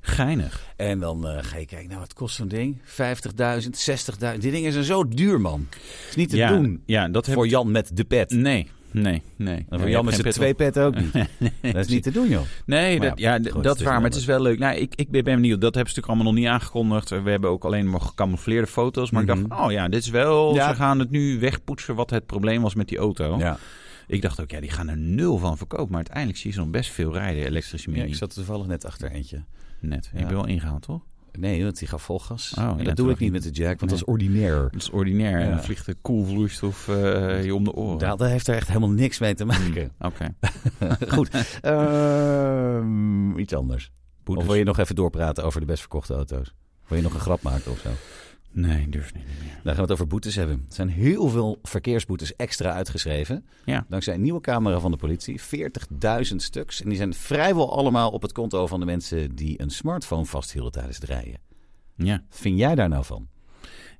Speaker 2: geinig.
Speaker 1: en dan eh, ga je kijken, nou, wat kost zo'n ding? 50.000, 60.000. Die dingen zijn zo duur, man. Het is niet te
Speaker 2: ja,
Speaker 1: doen
Speaker 2: Ja, dat heb
Speaker 1: voor Jan met de pet.
Speaker 2: Nee, nee, nee.
Speaker 1: En voor Jan met
Speaker 2: is
Speaker 1: zijn twee Mm. pet ook niet. Dat is niet te doen, joh.
Speaker 2: Nee,
Speaker 1: Maar
Speaker 2: dat,
Speaker 1: ja,
Speaker 2: ja,
Speaker 1: goed,
Speaker 2: d-
Speaker 1: het
Speaker 2: dat
Speaker 1: is
Speaker 2: waar, maar
Speaker 1: wel
Speaker 2: het is wel leuk. Nou, ik, ik ben benieuwd. Dat hebben ze natuurlijk allemaal nog niet aangekondigd. We hebben ook alleen maar gecamoufleerde foto's. Maar ik
Speaker 1: Mhm.
Speaker 2: dacht, oh ja, dit is wel...
Speaker 1: Ja.
Speaker 2: Ze gaan het nu wegpoetsen wat het probleem was met die auto.
Speaker 1: Ja.
Speaker 2: Ik dacht ook, ja, die gaan er nul van verkopen. Maar uiteindelijk zie je ze nog best veel rijden, elektrische mini.
Speaker 1: Ja, ik zat er toevallig net achter eentje.
Speaker 2: Net.
Speaker 1: Ja.
Speaker 2: Heb je wel ingehaald, toch?
Speaker 1: Nee, want die gaf vol gas.
Speaker 2: Oh, ja,
Speaker 1: en dat
Speaker 2: dat
Speaker 1: doe ik
Speaker 2: mag
Speaker 1: niet
Speaker 2: niet.
Speaker 1: met de jack, want
Speaker 2: Nee.
Speaker 1: dat is ordinair.
Speaker 2: Dat is ordinair.
Speaker 1: Ja.
Speaker 2: En dan vliegt de koelvloeistof eh, je om de oren. Hmm,
Speaker 1: Dat, dat heeft er echt helemaal niks mee te maken.
Speaker 2: Oké.
Speaker 1: Goed. Ehm, iets anders. Of
Speaker 2: Boeddhas.
Speaker 1: wil je nog even doorpraten over de best verkochte auto's? Wil je nog een grap maken of zo?
Speaker 2: Nee, durf niet. meer.
Speaker 1: Dan gaan we het over boetes hebben. Er zijn heel veel verkeersboetes extra uitgeschreven.
Speaker 2: Ja.
Speaker 1: Dankzij een nieuwe camera van de politie. 40.000 stuks. En die zijn vrijwel allemaal op het konto van de mensen die een smartphone vasthielden tijdens het rijden.
Speaker 2: Ja.
Speaker 1: Wat vind jij daar nou van?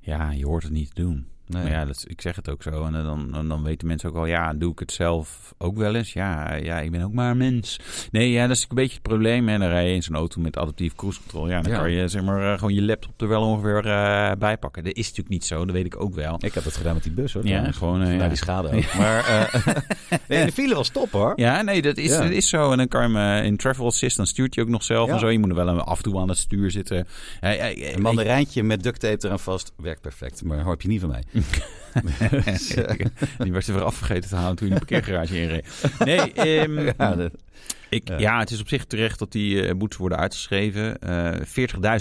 Speaker 1: Nou
Speaker 2: ja, je hoort het niet te doen.
Speaker 1: Nee.
Speaker 2: Maar ja, dat, ik zeg het ook zo. En eh, dan, dan, dan weten mensen ook al, ja, doe ik het zelf ook wel eens? Ja, ja, ik ben ook maar een mens. Nee, ja, dat is een beetje het probleem. En dan rij je in zo'n auto met adaptief cruise control. Ja, dan
Speaker 1: Ja.
Speaker 2: kan je zeg maar eh, gewoon je laptop er wel ongeveer eh, bij pakken. Dat is natuurlijk niet zo, dat weet ik ook wel.
Speaker 1: Ik heb dat gedaan met die bus hoor.
Speaker 2: Ja,
Speaker 1: trouwens.
Speaker 2: gewoon, eh,
Speaker 1: Vandaar
Speaker 2: ja.
Speaker 1: die schade ook. Maar eh, nee, de file was top hoor.
Speaker 2: Ja, nee, dat is,
Speaker 1: Ja.
Speaker 2: dat is zo. En dan kan je hem eh, in Travel Assist, dan stuurt je ook nog zelf
Speaker 1: Ja.
Speaker 2: en zo. Je moet er wel af en toe aan het stuur zitten. Eh, eh, eh,
Speaker 1: Een mandarijntje met duct tape eraan vast werkt perfect. Maar hoor je niet van mij. Dus, eh,
Speaker 2: Die werd er weer afgegeten te halen toen je de parkeergarage inreed. Nee, ehm,
Speaker 1: ja, dat-
Speaker 2: Ik,
Speaker 1: Ja.
Speaker 2: ja. het is op zich terecht dat die eh, boetes worden uitgeschreven. Eh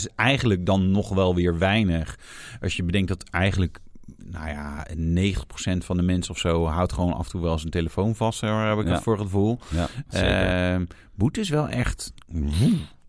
Speaker 2: 40.000 eigenlijk dan nog wel weer weinig. Als je bedenkt dat eigenlijk nou ja, 90% van de mensen of zo houdt gewoon af en toe wel zijn telefoon vast. Daar heb ik
Speaker 1: Ja.
Speaker 2: het voor gevoel.
Speaker 1: Ja, zeker.
Speaker 2: Ehm boete is wel echt...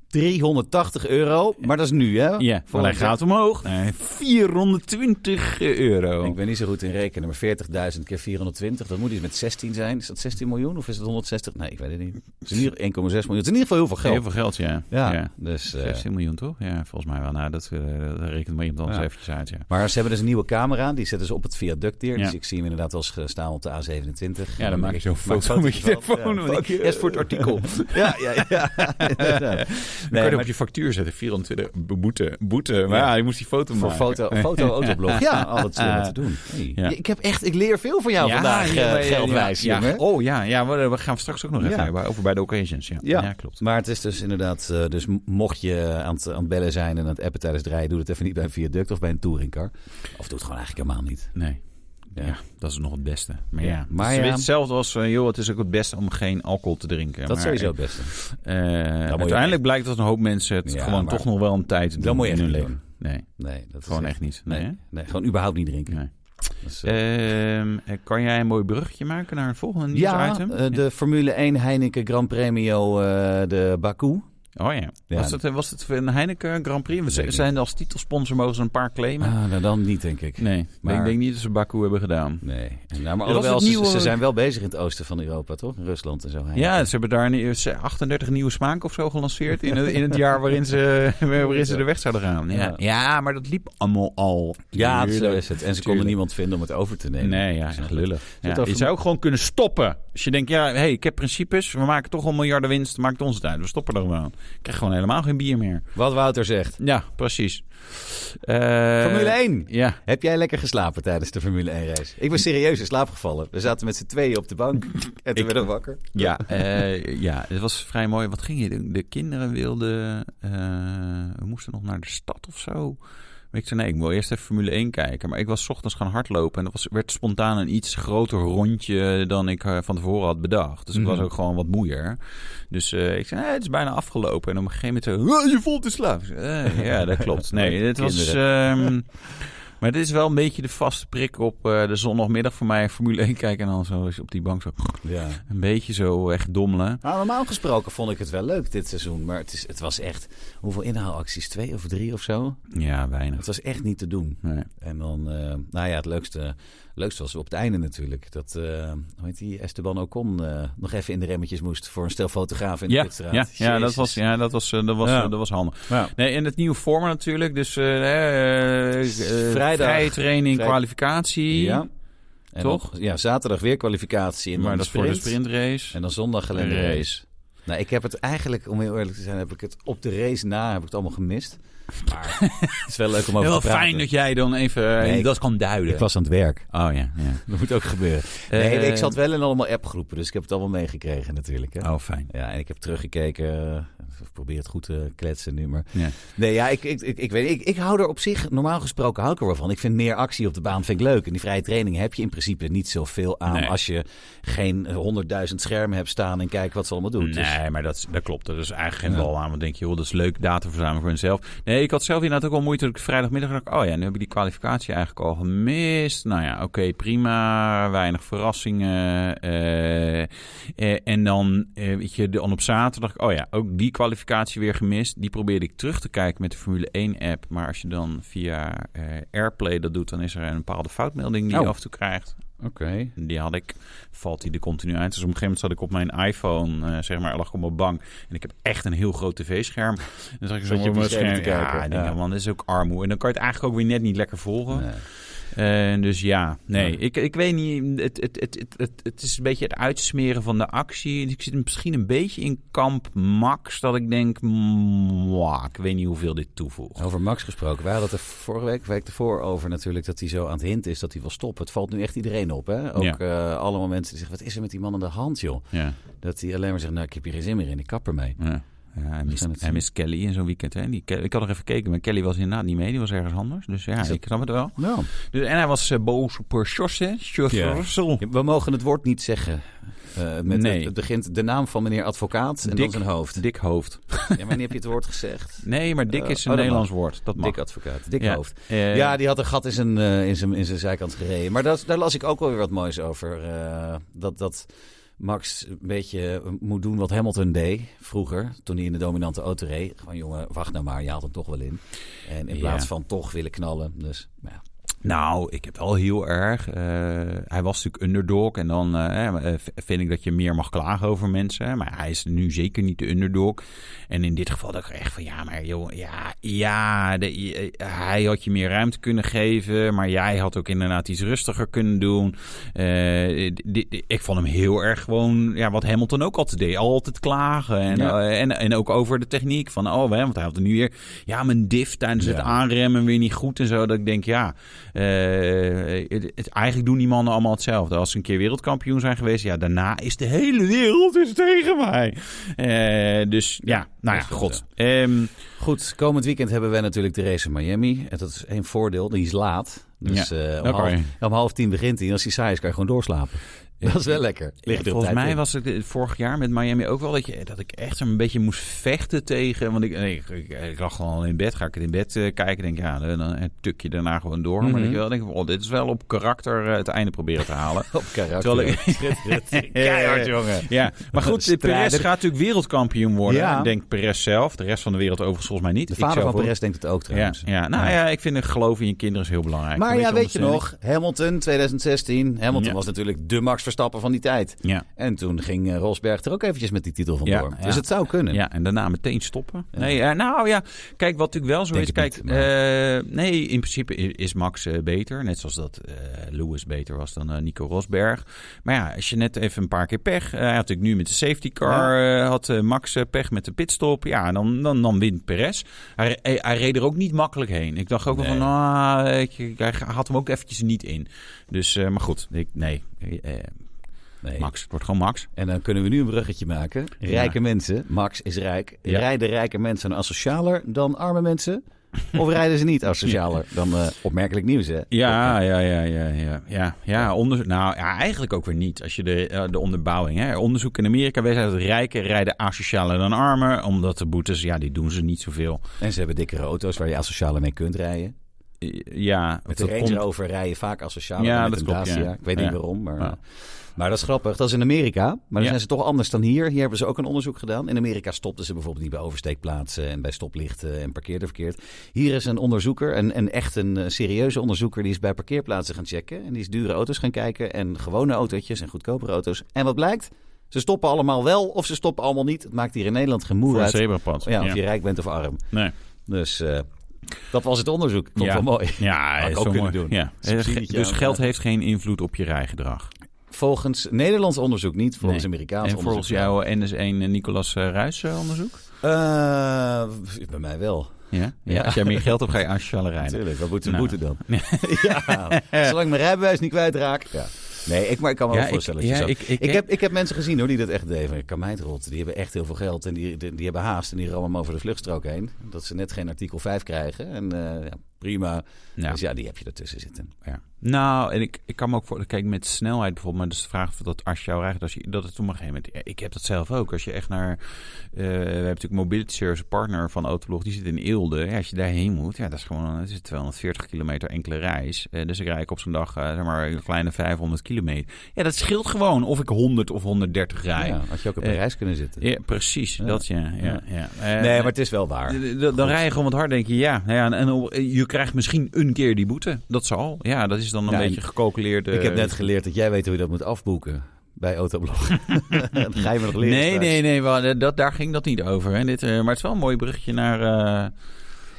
Speaker 1: 380 euro, maar dat is nu, hè?
Speaker 2: Ja,
Speaker 1: Volgend
Speaker 2: hij
Speaker 1: jaar.
Speaker 2: gaat omhoog. Nee, 420 euro.
Speaker 1: Ik ben niet zo goed in rekenen, maar 40.000 keer 420, dat moet iets met 16 zijn. Is dat 16 miljoen of is het 160? Nee, ik weet het niet. Het is in ieder 1,6 miljoen. Het is in ieder geval heel veel geld.
Speaker 2: Heel veel geld, ja.
Speaker 1: Ja, dus... eh,
Speaker 2: 16 miljoen, toch? Ja, volgens mij wel. Nou, dat, eh, dat rekent maar iemand anders
Speaker 1: Ja.
Speaker 2: eventjes uit, ja.
Speaker 1: maar ze hebben dus een nieuwe camera, die zetten ze op het viaduct hier.
Speaker 2: Ja.
Speaker 1: Dus ik zie hem inderdaad wel eens staan op de A27.
Speaker 2: Ja, dan maak je zo'n
Speaker 1: een
Speaker 2: foto met je
Speaker 1: van.
Speaker 2: telefoon,
Speaker 1: Ja,
Speaker 2: want ik-
Speaker 1: fuck yes voor het artikel. ja, ja, ja. inderdaad.
Speaker 2: Dan
Speaker 1: Nee,
Speaker 2: kan je
Speaker 1: maar
Speaker 2: op je factuur zetten, 24 boete. Boete, maar
Speaker 1: Ja.
Speaker 2: ja, je moest die foto
Speaker 1: voor
Speaker 2: maken.
Speaker 1: foto, foto autoblog. Ja, altijd slim wat te doen. Hey.
Speaker 2: Ja.
Speaker 1: Ik heb echt, ik leer veel van jou vandaag, eh, geldwijs,
Speaker 2: ja,
Speaker 1: jongen.
Speaker 2: Oh ja, ja we, we gaan straks ook nog even
Speaker 1: Ja.
Speaker 2: hebben over bij de occasions. Ja,
Speaker 1: Ja.
Speaker 2: ja. klopt.
Speaker 1: Maar het is dus inderdaad, eh, dus mocht je aan het, aan het bellen zijn en aan het appen tijdens het rijden, doe het even niet bij een viaduct of bij een touringcar. Of doe het gewoon eigenlijk helemaal niet.
Speaker 2: Nee.
Speaker 1: Ja.
Speaker 2: Ja. dat is nog het beste. Maar
Speaker 1: Ja.
Speaker 2: ja,
Speaker 1: Maar
Speaker 2: het is
Speaker 1: ja.
Speaker 2: hetzelfde als, eh, joh, het is ook het beste om geen alcohol te
Speaker 1: Dat
Speaker 2: drinken. maar,
Speaker 1: is sowieso het beste.
Speaker 2: eh, uiteindelijk blijkt dat een hoop mensen het
Speaker 1: Ja,
Speaker 2: gewoon
Speaker 1: maar-
Speaker 2: toch nog wel een tijd doen
Speaker 1: Dat moet je
Speaker 2: in
Speaker 1: echt
Speaker 2: hun
Speaker 1: niet
Speaker 2: leven. Nee,
Speaker 1: Nee, dat is
Speaker 2: gewoon echt niet. Nee,
Speaker 1: Nee,
Speaker 2: hè?
Speaker 1: nee, gewoon überhaupt niet drinken.
Speaker 2: Nee.
Speaker 1: Dat is, eh,
Speaker 2: Ehm, eh, kan jij een mooi bruggetje maken naar een volgende
Speaker 1: ja,
Speaker 2: nieuwsitem?
Speaker 1: eh, de Formule 1 Heineken Grand Premio eh, de Baku.
Speaker 2: Oh ja.
Speaker 1: Ja.
Speaker 2: Was, het, was het een Heineken Grand Prix? We
Speaker 1: Weet ik
Speaker 2: z-
Speaker 1: niet.
Speaker 2: zijn als titelsponsor mogen ze een paar claimen.
Speaker 1: Ah, nou dan niet, denk ik.
Speaker 2: nee,
Speaker 1: maar-
Speaker 2: maar... ik denk niet dat ze Baku hebben gedaan.
Speaker 1: Nee. Nou, maar
Speaker 2: Er was
Speaker 1: alhoewel,
Speaker 2: het
Speaker 1: ze,
Speaker 2: nieuwe-
Speaker 1: ze zijn wel bezig in het oosten van Europa, toch? In Rusland en zo. Heineken.
Speaker 2: Ja, ze hebben daar een eerste 38 nieuwe smaken of zo gelanceerd in het, in het jaar waarin ze, waarin ze de weg zouden gaan.
Speaker 1: Ja.
Speaker 2: Ja. maar dat liep allemaal al.
Speaker 1: ja zo
Speaker 2: Tuurlijk.
Speaker 1: is het. En ze konden
Speaker 2: Tuurlijk.
Speaker 1: niemand vinden om het over te nemen.
Speaker 2: Nee, ja,
Speaker 1: Snap
Speaker 2: echt
Speaker 1: ik.
Speaker 2: lullig.
Speaker 1: Zit
Speaker 2: Ja,
Speaker 1: over-
Speaker 2: Je zou ook gewoon kunnen stoppen. Als je denkt, ja, hey, ik heb principes, we maken toch al miljarden winst, maakt ons het uit. We stoppen er gewoon. Ik krijg gewoon helemaal geen bier meer.
Speaker 1: Wat Wouter zegt.
Speaker 2: Ja, precies. Eh,
Speaker 1: Formule 1.
Speaker 2: Ja.
Speaker 1: Heb jij lekker geslapen tijdens de Formule 1 race? Ik was serieus in slaap gevallen. We zaten met z'n tweeën op de bank. En toen
Speaker 2: Ik-
Speaker 1: werden we wakker.
Speaker 2: Ja, eh, ja, het was vrij mooi. Wat ging je doen? De kinderen wilden... eh, we moesten nog naar de stad of zo. Maar ik zei, nee, ik wil eerst even Formule 1 kijken. Maar ik was 's ochtends gaan hardlopen. En dat was, werd spontaan een iets groter rondje dan ik eh, van tevoren had bedacht. Dus
Speaker 1: Mhm.
Speaker 2: ik was ook gewoon wat moeier. Dus eh, ik zei, nee, het is bijna afgelopen. En op een gegeven moment zei, "Oh, je voelt de slaap. Ik zei, "Eh, ja, dat klopt. Nee, het was... ehm, maar dit is wel een beetje de vaste prik op eh, de zondagmiddag voor mij. Formule 1 kijken en dan zo als je op die bank zo...
Speaker 1: Ja.
Speaker 2: Een beetje zo echt dommelen.
Speaker 1: Nou, normaal gesproken vond ik het wel leuk dit seizoen. Maar het, is, het was echt... Hoeveel inhaalacties? Twee of drie of zo?
Speaker 2: Ja, weinig.
Speaker 1: Het was echt niet te doen.
Speaker 2: Nee.
Speaker 1: En dan... eh, nou ja, het leukste, leukste was op het einde natuurlijk. Dat, eh hoe heet die, Esteban Ocon eh, nog even in de remmetjes moest... voor een stel fotografen in de
Speaker 2: Ja,
Speaker 1: pitstraat.
Speaker 2: ja, ja, dat
Speaker 1: Jezus.
Speaker 2: was, ja, dat was, eh, dat was,
Speaker 1: Ja.
Speaker 2: eh, dat was handig.
Speaker 1: Ja.
Speaker 2: Nee, en het nieuwe format natuurlijk. Dus eh, eh, eh,
Speaker 1: Vrijdag.
Speaker 2: vrije training,
Speaker 1: Vrij-
Speaker 2: kwalificatie.
Speaker 1: Ja. En
Speaker 2: Toch?
Speaker 1: dan- ja, zaterdag weer kwalificatie. En dan
Speaker 2: maar dat is voor de
Speaker 1: sprint.
Speaker 2: sprintrace. Eh,
Speaker 1: En dan zondag alleen de
Speaker 2: Een race.
Speaker 1: race. Nou, ik heb het eigenlijk, om heel eerlijk te zijn, heb ik het op de race na heb ik het allemaal gemist. Maar het is wel leuk om over
Speaker 2: Heel
Speaker 1: te praten.
Speaker 2: fijn dat jij dan even eh,
Speaker 1: Nee, ik-
Speaker 2: dat kan duiden.
Speaker 1: Ik was aan het werk. Eh,
Speaker 2: Oh ja, ja. Eh,
Speaker 1: Dat moet ook gebeuren. Nee, ik zat wel in allemaal appgroepen, dus ik heb het allemaal meegekregen natuurlijk. Hè?
Speaker 2: Oh, fijn.
Speaker 1: Ja, en ik heb teruggekeken. eh, Ik probeer het goed te kletsen nu, maar...
Speaker 2: Ja.
Speaker 1: Nee, ja, ik, ik, ik, ik weet niet. Ik, ik hou er op zich, normaal gesproken hou ik er wel van. Ik vind meer actie op de baan vind ik leuk. En die vrije training heb je in principe niet zoveel aan...
Speaker 2: Nee.
Speaker 1: als je geen honderdduizend schermen hebt staan... en kijkt wat ze allemaal doen. Dus-
Speaker 2: Nee, maar dat, is- dat klopt. Dat is eigenlijk
Speaker 1: Ja.
Speaker 2: geen bal aan. Want denk je, joh, dat is leuk, data verzamelen voor mezelf. Nee, ik had zelf inderdaad ook al moeite dat ik vrijdagmiddag dacht... oh ja, nu heb ik die kwalificatie eigenlijk al gemist. Nou ja, oké, prima. Weinig verrassingen. Eh, eh, en dan, eh, weet je, dan op zaterdag... oh ja, ook die kwalificatie weer gemist. Die probeerde ik terug te kijken met de Formule 1-app. Maar als je dan via eh, Airplay dat doet... dan is er een bepaalde foutmelding die
Speaker 1: Oh.
Speaker 2: je af en toe krijgt.
Speaker 1: Oké.
Speaker 2: Die had ik, valt die er continu uit. Dus op een gegeven moment zat ik op mijn iPhone, eh, zeg maar, lag ik op mijn bank. En ik heb echt een heel groot tv-scherm. En dan zag ik zo
Speaker 1: Zat je op
Speaker 2: op mijn
Speaker 1: die scherm
Speaker 2: scherm.
Speaker 1: te kijken?
Speaker 2: Ja, ik denk,
Speaker 1: Ja.
Speaker 2: ja, man, dit is ook armoe. En dan kan je het eigenlijk ook weer net niet lekker volgen. En dus ja, nee,
Speaker 1: Ja.
Speaker 2: Ik, ik weet niet. Het, het, het, het, het, het is een beetje het uitsmeren van de actie. Ik zit misschien een beetje in kamp Max, dat ik denk, mwah, ik weet niet hoeveel dit toevoegt.
Speaker 1: Over Max gesproken. Wij hadden het er vorige week, week ervoor over natuurlijk... dat hij zo aan het hint is dat hij wil stoppen. Het valt nu echt iedereen op, hè? Ook
Speaker 2: Ja.
Speaker 1: eh, allemaal mensen die zeggen... wat is er met die man aan de hand, joh?
Speaker 2: Ja,
Speaker 1: Dat hij alleen maar zegt, nou, ik heb hier geen zin meer in. Ik kap ermee.
Speaker 2: ja, Ja, hij, mist,
Speaker 1: gaan het
Speaker 2: hij
Speaker 1: zien.
Speaker 2: mist Kelly in zo'n weekend. Hè? Die, Ke- ik had nog even gekeken, maar Kelly was inderdaad niet mee. Die was ergens anders. Dus ja,
Speaker 1: Is dat-
Speaker 2: ik snap het wel.
Speaker 1: Ja.
Speaker 2: Dus, en hij was eh, boos op eh, Sjors,
Speaker 1: Ja.
Speaker 2: Schorsel.
Speaker 1: We mogen het woord niet zeggen. Eh, met
Speaker 2: Nee.
Speaker 1: het, het begint de naam van meneer advocaat en dan
Speaker 2: Dick.
Speaker 1: zijn hoofd.
Speaker 2: Dik hoofd.
Speaker 1: Ja, maar wanneer heb je het woord gezegd?
Speaker 2: Nee, maar dik
Speaker 1: Eh,
Speaker 2: is
Speaker 1: oh,
Speaker 2: een
Speaker 1: dat
Speaker 2: Nederlands woord. Dat mag.
Speaker 1: Dik advocaat, dik
Speaker 2: Ja.
Speaker 1: hoofd.
Speaker 2: Eh,
Speaker 1: ja, die had een gat in zijn, eh, in zijn, in zijn zijkant gereden. Maar dat, daar las ik ook wel weer wat moois over. eh, dat, dat Max een beetje eh, moet doen wat Hamilton deed vroeger. Toen hij in de dominante auto reed. Gewoon jongen, wacht nou maar, je haalt hem toch wel in. En in
Speaker 2: Ja.
Speaker 1: plaats van toch willen knallen. Dus nou ja.
Speaker 2: Nou, ik heb wel heel erg. eh, hij was natuurlijk underdog. En dan eh, eh, v- vind ik dat je meer mag klagen over mensen. Maar hij is nu zeker niet de underdog. En in dit geval dat ik echt van ja, maar joh, ja, ja. de- je- eh, hij had je meer ruimte kunnen geven. Maar jij had ook inderdaad iets rustiger kunnen doen. Eh, di- di- ik vond hem heel erg gewoon. Ja, wat Hamilton ook altijd deed. Altijd klagen. En,
Speaker 1: Ja.
Speaker 2: eh, en, en ook over de techniek. Van oh, hè, want hij had er nu weer. Ja, mijn diff tijdens het
Speaker 1: Ja.
Speaker 2: aanremmen weer niet goed en zo. Dat ik denk, ja, eh, het, het- eigenlijk doen die mannen allemaal hetzelfde. Als ze een keer wereldkampioen zijn geweest, ja, daarna is de hele wereld is tegen mij. Eh, dus ja, nou
Speaker 1: Dat
Speaker 2: ja,
Speaker 1: is wel
Speaker 2: god. Ehm,
Speaker 1: Goed, komend weekend hebben wij natuurlijk de race in Miami. En dat is één voordeel, die is laat. Dus eh, om,
Speaker 2: oké.
Speaker 1: half, om half tien begint hij. En als hij saai is, kan je gewoon doorslapen. Dat is wel lekker. Ligt er op
Speaker 2: volgens
Speaker 1: tijd
Speaker 2: mij
Speaker 1: in.
Speaker 2: was het eh, vorig jaar met Miami ook wel dat, je, eh, dat ik echt een beetje moest vechten tegen. Want ik, nee, ik, ik, ik lag gewoon al in bed. Ga ik het in bed eh, kijken? Denk ja, dan eh, tuk je daarna gewoon door.
Speaker 1: Mhm.
Speaker 2: Maar dat je wel denkt, oh, dit is wel op karakter eh, het einde proberen te halen.
Speaker 1: Op karakter.
Speaker 2: Terwijl ik-
Speaker 1: Keihard, jongen.
Speaker 2: Ja, maar goed, de
Speaker 1: Strijder.
Speaker 2: Perez gaat natuurlijk wereldkampioen worden.
Speaker 1: Ja.
Speaker 2: Denkt Perez zelf. De rest van de wereld overigens volgens mij niet.
Speaker 1: De
Speaker 2: Ik
Speaker 1: vader
Speaker 2: zelf
Speaker 1: van
Speaker 2: ook.
Speaker 1: Perez denkt het ook
Speaker 2: Ja,
Speaker 1: trouwens.
Speaker 2: ja, nou ja. ik vind het geloof in je kinderen is heel belangrijk.
Speaker 1: Maar
Speaker 2: Een
Speaker 1: ja,
Speaker 2: beetje
Speaker 1: weet je
Speaker 2: ondersteuning.
Speaker 1: nog, Hamilton 2016. Hamilton
Speaker 2: Ja.
Speaker 1: was natuurlijk de Max Verstappen van die tijd.
Speaker 2: Ja.
Speaker 1: En toen ging eh, Rosberg er ook eventjes met die titel vandoor.
Speaker 2: Ja, ja.
Speaker 1: Dus het zou kunnen.
Speaker 2: Ja, en daarna meteen stoppen. Nee, eh, nou ja, kijk, wat natuurlijk wel zo
Speaker 1: Denk
Speaker 2: is.
Speaker 1: ik
Speaker 2: Kijk,
Speaker 1: niet,
Speaker 2: eh, nee, in principe i- is Max eh, beter. Net zoals dat eh, Lewis beter was dan eh, Nico Rosberg. Maar ja, als je net even een paar keer pech. eh, hij had natuurlijk nu met de safety car. eh, had eh, Max eh, pech met de pitstop. Ja, dan, dan, dan wint Perez. Hij, re- eh, hij, hij reed er ook niet makkelijk heen. Ik dacht ook wel
Speaker 1: Nee.
Speaker 2: van, ah, ik- ik- hij had hem ook eventjes niet in. Dus, eh, maar goed, ik, nee. eh, eh,
Speaker 1: Nee.
Speaker 2: Max, het wordt gewoon Max.
Speaker 1: En dan kunnen we nu een bruggetje maken.
Speaker 2: Ja.
Speaker 1: Rijke mensen, Max is rijk.
Speaker 2: Ja.
Speaker 1: Rijden rijke mensen nou asocialer dan arme mensen? Of rijden ze niet asocialer dan eh, opmerkelijk nieuws, hè?
Speaker 2: Ja, ja, ja, ja, ja. Ja, ja onderzoek. Nou, ja, eigenlijk ook weer niet. Als je de, eh, de onderbouwing. Hè. Onderzoek in Amerika wees uit dat rijken rijden asocialer dan armen. Omdat de boetes, ja, die doen ze niet zoveel.
Speaker 1: En ze hebben dikkere auto's waar je asocialer mee kunt rijden.
Speaker 2: Eh, Ja,
Speaker 1: Met de
Speaker 2: dat
Speaker 1: Range
Speaker 2: komt-
Speaker 1: Rover rijden vaak asocialer
Speaker 2: Ja,
Speaker 1: dan met
Speaker 2: dat
Speaker 1: een
Speaker 2: klopt,
Speaker 1: Dacia.
Speaker 2: ja.
Speaker 1: Ik weet niet
Speaker 2: Ja.
Speaker 1: waarom, maar...
Speaker 2: Ja.
Speaker 1: Maar dat is grappig, dat is in Amerika. Maar dan
Speaker 2: Ja.
Speaker 1: zijn ze toch anders dan hier. Hier hebben ze ook een onderzoek gedaan. In Amerika stopten ze bijvoorbeeld niet bij oversteekplaatsen en bij stoplichten en parkeerden verkeerd. Hier is een onderzoeker, een, een echt een eh, serieuze onderzoeker, die is bij parkeerplaatsen gaan checken. En die is dure auto's gaan kijken en gewone autootjes en goedkopere auto's. En wat blijkt? Ze stoppen allemaal wel of ze stoppen allemaal niet. Het maakt hier in Nederland geen moer
Speaker 2: Voor een
Speaker 1: uit.
Speaker 2: zebrapad.
Speaker 1: Ja, of je rijk bent of arm.
Speaker 2: Nee.
Speaker 1: Dus eh, dat was het onderzoek. Vond ik
Speaker 2: Ja.
Speaker 1: wel mooi.
Speaker 2: Ja,
Speaker 1: Had ik
Speaker 2: is
Speaker 1: ook
Speaker 2: zo
Speaker 1: kunnen
Speaker 2: mooi.
Speaker 1: doen.
Speaker 2: Ja.
Speaker 1: Subsidietje
Speaker 2: Dus
Speaker 1: aan-
Speaker 2: geld heeft geen invloed op je rijgedrag.
Speaker 1: Volgens Nederlands onderzoek niet, volgens
Speaker 2: Nee.
Speaker 1: Amerikaans
Speaker 2: En
Speaker 1: onderzoek.
Speaker 2: volgens jouw NS1 Nicolas eh, Ruijs eh, onderzoek?
Speaker 1: Eh, bij mij wel.
Speaker 2: Ja?
Speaker 1: Ja.
Speaker 2: ja. Als jij meer geld hebt, ga je asocialer rijden.
Speaker 1: Natuurlijk, wat moet de
Speaker 2: Nou.
Speaker 1: boete dan? ja, zolang ik mijn rijbewijs niet kwijtraak. Ja. Nee, ik, maar ik kan me
Speaker 2: Ja,
Speaker 1: wel
Speaker 2: ik-
Speaker 1: voorstellen. dat je
Speaker 2: ja,
Speaker 1: zo-
Speaker 2: ik- ik-
Speaker 1: heb, ik heb mensen gezien hoor, die dat echt deden. Ik kan mij het rot. Die hebben echt heel veel geld en die, die, die hebben haast. En die rammen hem over de vluchtstrook heen. Dat ze net geen artikel 5 krijgen. En eh, ja, prima.
Speaker 2: Ja.
Speaker 1: Dus ja, die heb je ertussen zitten.
Speaker 2: Ja. Nou, en ik, ik kan me ook voor. Kijk, met snelheid bijvoorbeeld. Maar dat is de vraag of dat als je jou rijdt, als je, dat het op een gegeven moment. ja, Ik heb dat zelf ook. Als je echt naar. eh, we hebben natuurlijk Mobility Service, een partner van Autoblog. Die zit in Eelde. Ja, als je daarheen moet, ja, dat is gewoon. Het is 240 kilometer enkele reis. Eh, dus ik rijd op zo'n dag, eh, zeg maar, een kleine 500 kilometer. Ja, dat scheelt gewoon of ik 100 of 130 rijd.
Speaker 1: Ja,
Speaker 2: Ja,
Speaker 1: had je ook op
Speaker 2: Eh,
Speaker 1: een reis kunnen zitten.
Speaker 2: precies. Dat ja. ja, ja. Eh,
Speaker 1: nee, maar het is wel waar.
Speaker 2: D- d- Dan, rij je gewoon wat hard, denk je, ja. Nou ja en, en op- je krijgt misschien een keer die boete. Dat zal. Ja, dat is dan een
Speaker 1: Ja, en
Speaker 2: beetje gecalculeerd.
Speaker 1: Ik heb net geleerd dat jij weet hoe je dat moet afboeken bij Autoblog. dat ga je me nog leren
Speaker 2: Nee,
Speaker 1: straks.
Speaker 2: nee, nee. wel, dat, daar ging dat niet over. Hè. Dit, eh, maar het is wel een mooi bruggetje naar... eh,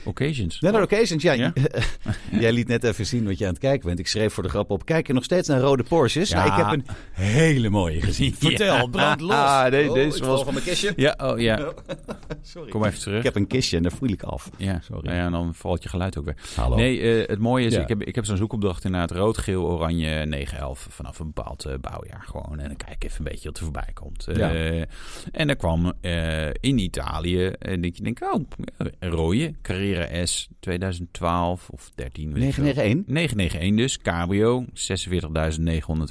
Speaker 2: Occasions.
Speaker 1: Ja, naar Occasions. Ja,
Speaker 2: Ja?
Speaker 1: jij liet net even zien wat je aan het kijken bent. Ik schreef voor de grap op. Kijk je nog steeds naar rode Porsches?
Speaker 2: Ja.
Speaker 1: Nou, ik heb een hele mooie gezien.
Speaker 2: Ja.
Speaker 1: Vertel, brand los.
Speaker 2: Ah, nee,
Speaker 1: Oh,
Speaker 2: deze
Speaker 1: ik
Speaker 2: was-
Speaker 1: val van mijn kistje.
Speaker 2: Ja, oh ja.
Speaker 1: Sorry.
Speaker 2: Kom even terug.
Speaker 1: Ik heb een kistje en daar voel ik af.
Speaker 2: Ja,
Speaker 1: Sorry.
Speaker 2: Nou ja, en dan valt je geluid ook weer.
Speaker 1: Hallo.
Speaker 2: Nee, eh, het mooie is,
Speaker 1: Ja.
Speaker 2: ik heb, ik heb zo'n zoekopdracht inderdaad rood, geel, oranje, 9, 11 vanaf een bepaald eh, bouwjaar gewoon. En dan kijk ik even een beetje wat er voorbij komt. Eh,
Speaker 1: Ja.
Speaker 2: en dan kwam eh, in Italië, en dat je denkt, oh, een rode, Carrera S 2012 of 13. weet ik veel.
Speaker 1: 991?
Speaker 2: 991 dus, cabrio,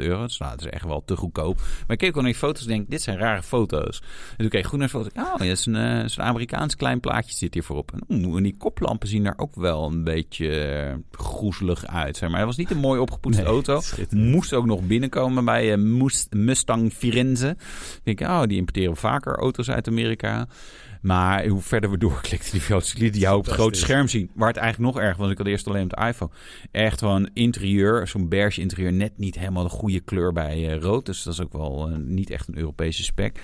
Speaker 2: 46.900 euro. Dus nou, dat is echt wel te goedkoop. Maar ik keek ook naar die foto's en denk, dit zijn rare foto's. En toen keek ik goed naar de foto. Oh, ja, dat is een, eh, dat is een Amerikaans klein plaatje zit hier voorop. En, oeh, en die koplampen zien er ook wel een beetje eh, groezelig uit. Zeg maar. Hij was niet een mooi opgepoetste
Speaker 1: Nee,
Speaker 2: auto.
Speaker 1: schitterend.
Speaker 2: Moest ook nog binnenkomen bij eh, Mus- Mustang Firenze. Ik denk, oh, die importeren vaker auto's uit Amerika. Maar hoe verder we doorklikten, die foto's lieten jou op het grote
Speaker 1: Fantastisch.
Speaker 2: scherm zien. Waar het eigenlijk nog erg was, ik had eerst alleen op de iPhone. Echt gewoon interieur, zo'n beige interieur, net niet helemaal de goede kleur bij eh, rood. Dus dat is ook wel eh, niet echt een Europese spec.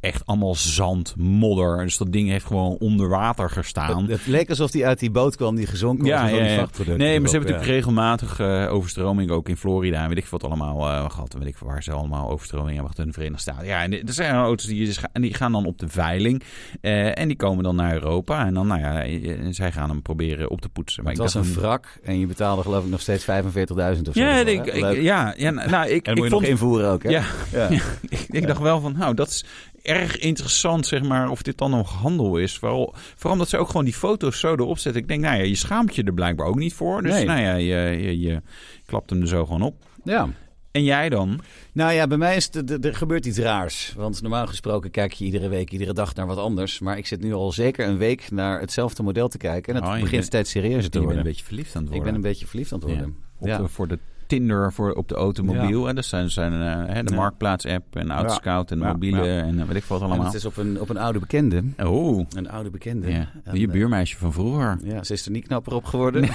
Speaker 2: Echt allemaal zand, modder. Dus dat ding heeft gewoon onder water gestaan.
Speaker 1: Het, het leek alsof die uit die boot kwam die gezonken was. met al die vrachtproducten
Speaker 2: Nee, maar ze
Speaker 1: erop,
Speaker 2: hebben natuurlijk regelmatig eh, overstromingen ook in Florida en weet ik veel wat allemaal eh, gehad. En weet ik veel waar ze allemaal overstromingen hebben gehad in de Verenigde Staten. Ja, en er zijn auto's die, dus ga- en die gaan dan op de veiling eh, en die komen dan naar Europa. En dan, nou ja, eh, zij gaan hem proberen op te poetsen. Maar
Speaker 1: Het was een
Speaker 2: dacht,
Speaker 1: wrak en je betaalde geloof ik nog steeds 45.000 of zo.
Speaker 2: Ja,
Speaker 1: ervoor,
Speaker 2: ik,
Speaker 1: hè?
Speaker 2: ik,
Speaker 1: Leuk.
Speaker 2: ja, ja, nou, ik,
Speaker 1: en
Speaker 2: ik
Speaker 1: moet je
Speaker 2: vond...
Speaker 1: nog invoeren ook, hè?
Speaker 2: Ja,
Speaker 1: Ja.
Speaker 2: ik, ik dacht wel van, nou, dat is erg interessant, zeg maar, of dit dan nog handel is. Vooral, vooral omdat ze ook gewoon die foto's zo erop zetten. Ik denk, nou ja, je schaamt je er blijkbaar ook niet voor. Dus
Speaker 1: Nee.
Speaker 2: nou ja, je, je, je klapt hem er zo gewoon op.
Speaker 1: ja.
Speaker 2: En jij dan?
Speaker 1: Nou ja, bij mij is het, er- er gebeurt iets raars. Want normaal gesproken kijk je iedere week, iedere dag naar wat anders. Maar ik zit nu al zeker een week naar hetzelfde model te kijken. En het
Speaker 2: Oh, je
Speaker 1: begint
Speaker 2: bent-
Speaker 1: steeds serieuzer te
Speaker 2: Je bent
Speaker 1: worden.
Speaker 2: een beetje verliefd aan het
Speaker 1: Ik
Speaker 2: worden.
Speaker 1: ben een beetje verliefd aan het worden.
Speaker 2: Op
Speaker 1: Ja.
Speaker 2: de- voor de Tinder, voor, op de automobiel. En dat zijn, zijn eh, hè, de
Speaker 1: Ja.
Speaker 2: Marktplaats-app en Autoscout en
Speaker 1: Ja,
Speaker 2: mobiele
Speaker 1: ja.
Speaker 2: en eh, weet ik wat
Speaker 1: En
Speaker 2: allemaal.
Speaker 1: het is op een, op een oude bekende.
Speaker 2: Oh,
Speaker 1: Een oude bekende.
Speaker 2: ja.
Speaker 1: En,
Speaker 2: je
Speaker 1: eh,
Speaker 2: buurmeisje van vroeger.
Speaker 1: Ja, ze is er niet knapper op geworden.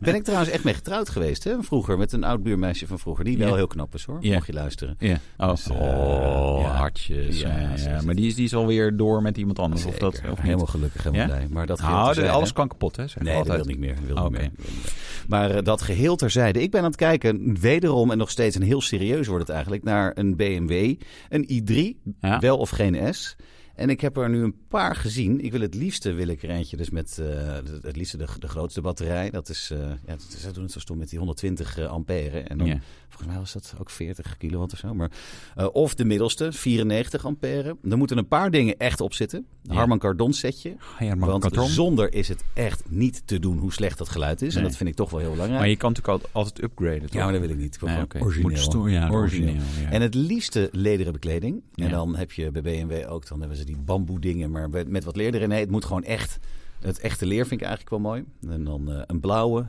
Speaker 1: ben ik trouwens echt mee getrouwd geweest, hè? Vroeger, met een oud buurmeisje van vroeger. Die wel
Speaker 2: Ja.
Speaker 1: heel knap is, hoor.
Speaker 2: Ja.
Speaker 1: Mag je luisteren.
Speaker 2: Ja. Oh,
Speaker 1: Dus, eh,
Speaker 2: oh,
Speaker 1: ja.
Speaker 2: hartjes.
Speaker 1: Ja,
Speaker 2: Ja, ja,
Speaker 1: zo is
Speaker 2: ja.
Speaker 1: het.
Speaker 2: Maar die is, die is alweer door met iemand anders.
Speaker 1: Zeker.
Speaker 2: Of dat, of
Speaker 1: helemaal
Speaker 2: helemaal
Speaker 1: gelukkig, helemaal
Speaker 2: Ja?
Speaker 1: blij. Maar dat geheel
Speaker 2: Ah, de-
Speaker 1: terzijde,
Speaker 2: alles
Speaker 1: hè?
Speaker 2: kan kapot, hè? Zeggen we
Speaker 1: Nee, dat
Speaker 2: altijd.
Speaker 1: wil niet meer. Wil
Speaker 2: Oh,
Speaker 1: niet meer.
Speaker 2: oké.
Speaker 1: Wil niet meer. Maar eh, dat geheel terzijde. Ik ben aan het kijken, wederom en nog steeds, en heel serieus wordt het eigenlijk, naar een BMW. Een i3,
Speaker 2: Ja.
Speaker 1: wel of geen S. En ik heb er nu een paar gezien. Ik wil het liefste, wil ik er eentje, dus met eh, het- het liefste de, de grootste batterij. Dat is, eh, ja, dat, ze doen het zo stom met die 120 eh, ampère. En dan,
Speaker 2: Ja.
Speaker 1: volgens mij was dat ook 40 kilowatt of zo. Maar, eh, of de middelste, 94 ampère. Er moeten een paar dingen echt op zitten.
Speaker 2: Ja.
Speaker 1: Harman Kardon setje.
Speaker 2: Ah, Ja, maar,
Speaker 1: Want
Speaker 2: karton.
Speaker 1: zonder is het echt niet te doen hoe slecht dat geluid is. En
Speaker 2: Nee.
Speaker 1: dat vind ik toch wel heel belangrijk.
Speaker 2: maar je kan natuurlijk altijd, altijd upgraden, toch?
Speaker 1: Ja, maar dat wil ik niet. Ik wil
Speaker 2: Nee,
Speaker 1: gewoon
Speaker 2: oké.
Speaker 1: origineel.
Speaker 2: Moet sto- ja, origineel. ja.
Speaker 1: En het liefste lederen bekleding. En
Speaker 2: Ja.
Speaker 1: dan heb je bij BMW ook, dan hebben ze die bamboe dingen, maar met- met wat leer erin. Nee, het moet gewoon echt, het echte leer vind ik eigenlijk wel mooi. En dan eh, een blauwe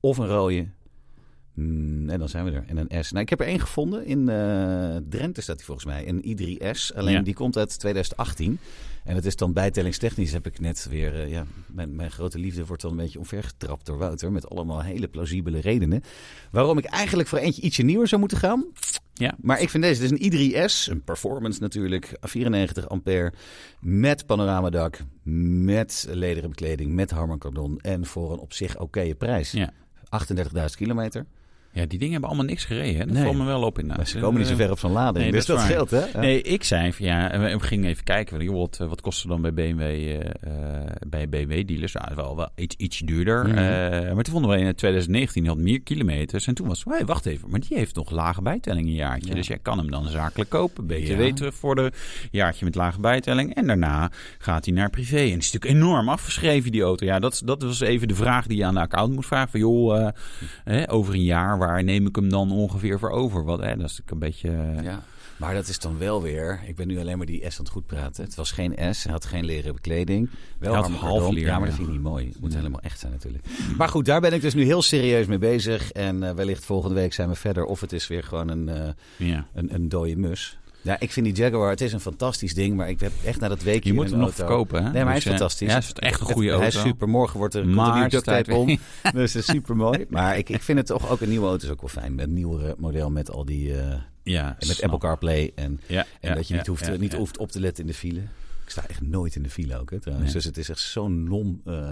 Speaker 1: of een rode. Mm, en dan zijn we er. En een S. Nou, ik heb er één gevonden. In eh, Drenthe staat die volgens mij. Een I3S. Alleen
Speaker 2: Ja.
Speaker 1: die komt uit 2018. En het is dan bijtellingstechnisch heb ik net weer... eh, ja, mijn, mijn grote liefde wordt dan een beetje omvergetrapt door Wouter. Met allemaal hele plausibele redenen. Waarom ik eigenlijk voor eentje ietsje nieuwer zou moeten gaan.
Speaker 2: Ja.
Speaker 1: Maar ik vind deze, dit is een i3S, een performance natuurlijk, 94 ampère, met panoramadak, met lederen bekleding, met Harman Kardon en voor een op zich oké prijs.
Speaker 2: Ja.
Speaker 1: 38.000 kilometer.
Speaker 2: Ja, die dingen hebben allemaal niks gereden. Hè? Dat
Speaker 1: Nee.
Speaker 2: valt me wel op Eh, in.
Speaker 1: Maar ze komen niet zo ver op zo'n lading,
Speaker 2: nee,
Speaker 1: dus
Speaker 2: dat
Speaker 1: dat,
Speaker 2: is waar.
Speaker 1: scheelt hè? Ja.
Speaker 2: Nee, ik zei van ja, en we we gingen even kijken. want, joh, Wat, eh, wat kost ze dan bij BMW, eh, eh, bij BMW dealers? Nou, wel, wel iets, iets duurder.
Speaker 1: Mhm.
Speaker 2: Eh, maar toen vonden we in 2019 die had meer kilometers. En toen was het, hey, wacht even, maar die heeft nog lage bijtelling een jaartje.
Speaker 1: Ja.
Speaker 2: Dus jij kan hem dan zakelijk kopen. BTW
Speaker 1: Ja.
Speaker 2: terug voor de jaartje met lage bijtelling. En daarna gaat hij naar privé. En die is natuurlijk enorm afgeschreven, die auto. Ja, dat, dat was even de vraag die je aan de account moest vragen. Van joh, eh, hè, over een jaar, waar neem ik hem dan ongeveer voor over? Wat, hè, dat is natuurlijk een beetje... eh,
Speaker 1: Ja. Maar dat is dan wel weer, ik ben nu alleen maar die S aan het goed praten. Het was geen S, hij had geen leren bekleding. Wel
Speaker 2: Hij had
Speaker 1: Harman
Speaker 2: half
Speaker 1: Kardon.
Speaker 2: leer,
Speaker 1: Ja, maar
Speaker 2: ja.
Speaker 1: dat vind ik niet mooi. Het moet helemaal echt zijn natuurlijk. Maar goed, daar ben ik dus nu heel serieus mee bezig. En eh, wellicht volgende week zijn we verder. Of het is weer gewoon een... eh,
Speaker 2: ja.
Speaker 1: Een, een dode mus. Ja, ik vind die Jaguar, het is een fantastisch ding, maar ik heb echt na dat weekje
Speaker 2: Je
Speaker 1: in
Speaker 2: moet hem
Speaker 1: een
Speaker 2: nog
Speaker 1: auto-
Speaker 2: verkopen, hè?
Speaker 1: Nee, maar hij is
Speaker 2: Dus, eh,
Speaker 1: fantastisch.
Speaker 2: Ja, hij is echt een goede
Speaker 1: Het- Hij
Speaker 2: auto.
Speaker 1: is super. Morgen wordt er
Speaker 2: Maar
Speaker 1: maar
Speaker 2: staat
Speaker 1: duct tape
Speaker 2: weer-
Speaker 1: om. Dus het is super mooi. Maar ik, ik vind het toch ook een nieuwe auto is ook wel fijn. Een nieuwere model met al die eh,
Speaker 2: Ja,
Speaker 1: met
Speaker 2: snap.
Speaker 1: Apple CarPlay en,
Speaker 2: Ja,
Speaker 1: en
Speaker 2: ja,
Speaker 1: dat je
Speaker 2: ja,
Speaker 1: niet, hoeft,
Speaker 2: ja,
Speaker 1: niet
Speaker 2: ja.
Speaker 1: hoeft op te letten in de file. Ik sta echt nooit in de file ook, hè, trouwens.
Speaker 2: Nee.
Speaker 1: Dus het is echt zo'n non, eh,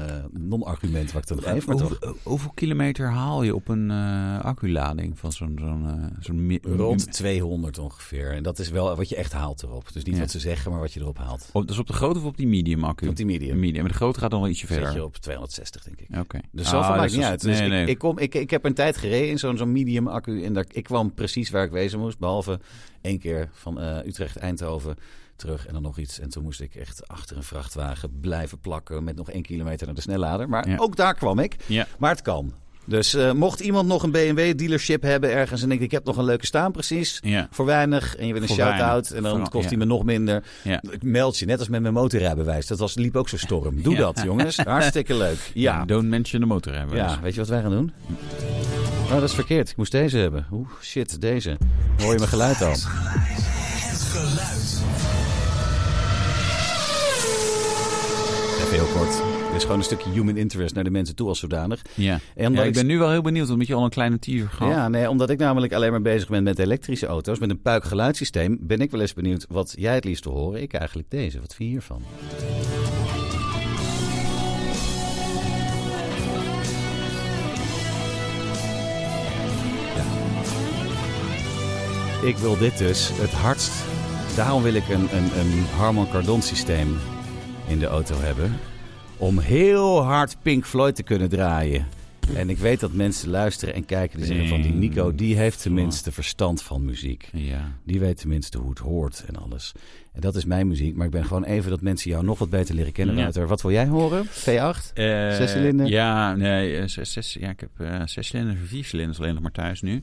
Speaker 1: non-argument wat ik dan geef. Maar
Speaker 2: Hoe-
Speaker 1: toch,
Speaker 2: hoe- hoeveel kilometer haal je op een eh, acculading van zo'n zo'n eh, zo'n mi-
Speaker 1: rond 200 ongeveer. En dat is wel wat je echt haalt erop. Dus niet
Speaker 2: Ja.
Speaker 1: wat ze zeggen, maar wat je erop haalt.
Speaker 2: Op, dat is op de grote of op die medium accu?
Speaker 1: Op die medium.
Speaker 2: medium. Maar de grote gaat dan wel ietsje
Speaker 1: Zet je
Speaker 2: verder.
Speaker 1: op 260, denk ik.
Speaker 2: Oké.
Speaker 1: Dus
Speaker 2: Ah,
Speaker 1: zoveel
Speaker 2: dat
Speaker 1: maakt
Speaker 2: is
Speaker 1: niet
Speaker 2: dus-
Speaker 1: uit. Dus
Speaker 2: Nee, nee.
Speaker 1: Ik, ik, kom, ik, ik heb een tijd gereden in zo'n zo'n medium accu. En daar, ik kwam precies waar ik wezen moest. Behalve één keer van eh, Utrecht, Eindhoven terug en dan nog iets. En toen moest ik echt achter een vrachtwagen blijven plakken. Met nog één kilometer naar de snellader. Maar
Speaker 2: Ja.
Speaker 1: ook daar kwam ik.
Speaker 2: Ja.
Speaker 1: Maar het kan. Dus eh, mocht iemand nog een BMW dealership hebben ergens. En denkt ik heb nog een leuke staan precies.
Speaker 2: Ja.
Speaker 1: Voor weinig. En je wil een
Speaker 2: Voor
Speaker 1: shout-out.
Speaker 2: weinig.
Speaker 1: En dan
Speaker 2: Vooral,
Speaker 1: kost
Speaker 2: ja.
Speaker 1: hij me nog minder.
Speaker 2: Ja.
Speaker 1: Ik meld je. Net als met mijn motorrijbewijs. Dat was, liep ook zo storm. Doe
Speaker 2: Ja.
Speaker 1: dat jongens. Hartstikke leuk. Ja.
Speaker 2: Don't mention Dus- de motor hebben.
Speaker 3: dus.
Speaker 1: Ja, weet je wat wij gaan doen?
Speaker 3: Hm.
Speaker 1: Oh, dat is verkeerd. Ik moest deze hebben. Oeh, shit, deze. Hoor je mijn geluid al?
Speaker 3: Het geluid.
Speaker 1: Even heel kort. Dit is gewoon een stukje human interest naar de mensen toe als zodanig.
Speaker 2: Ja.
Speaker 1: En omdat
Speaker 2: Ja,
Speaker 1: ik-
Speaker 2: ik ben nu wel heel benieuwd, omdat je al een kleine teaser gaf.
Speaker 1: Ja, nee, omdat ik namelijk alleen maar bezig ben met elektrische auto's, met een puikgeluidssysteem, ben ik wel eens benieuwd wat jij het liefst wil horen. Ik eigenlijk deze. Wat vind je hiervan? Ja. Ik wil dit dus het hardst. Daarom wil ik een, een, een Harman Kardon systeem in de auto hebben. Om heel hard Pink Floyd te kunnen draaien. En ik weet dat mensen luisteren en kijken die zeggen van die Nico, die heeft tenminste verstand van muziek.
Speaker 2: Ja.
Speaker 1: Die weet tenminste hoe het hoort en alles. En dat is mijn muziek, maar ik ben gewoon even dat mensen jou nog wat beter leren kennen.
Speaker 2: Ja.
Speaker 1: Wouter. Wat wil jij horen? V8?
Speaker 2: Eh,
Speaker 1: Zes cilinder?
Speaker 2: Ja, nee, eh, zes, zes- ja, ik heb eh, zes cilinders en vier cilinders alleen nog maar thuis nu.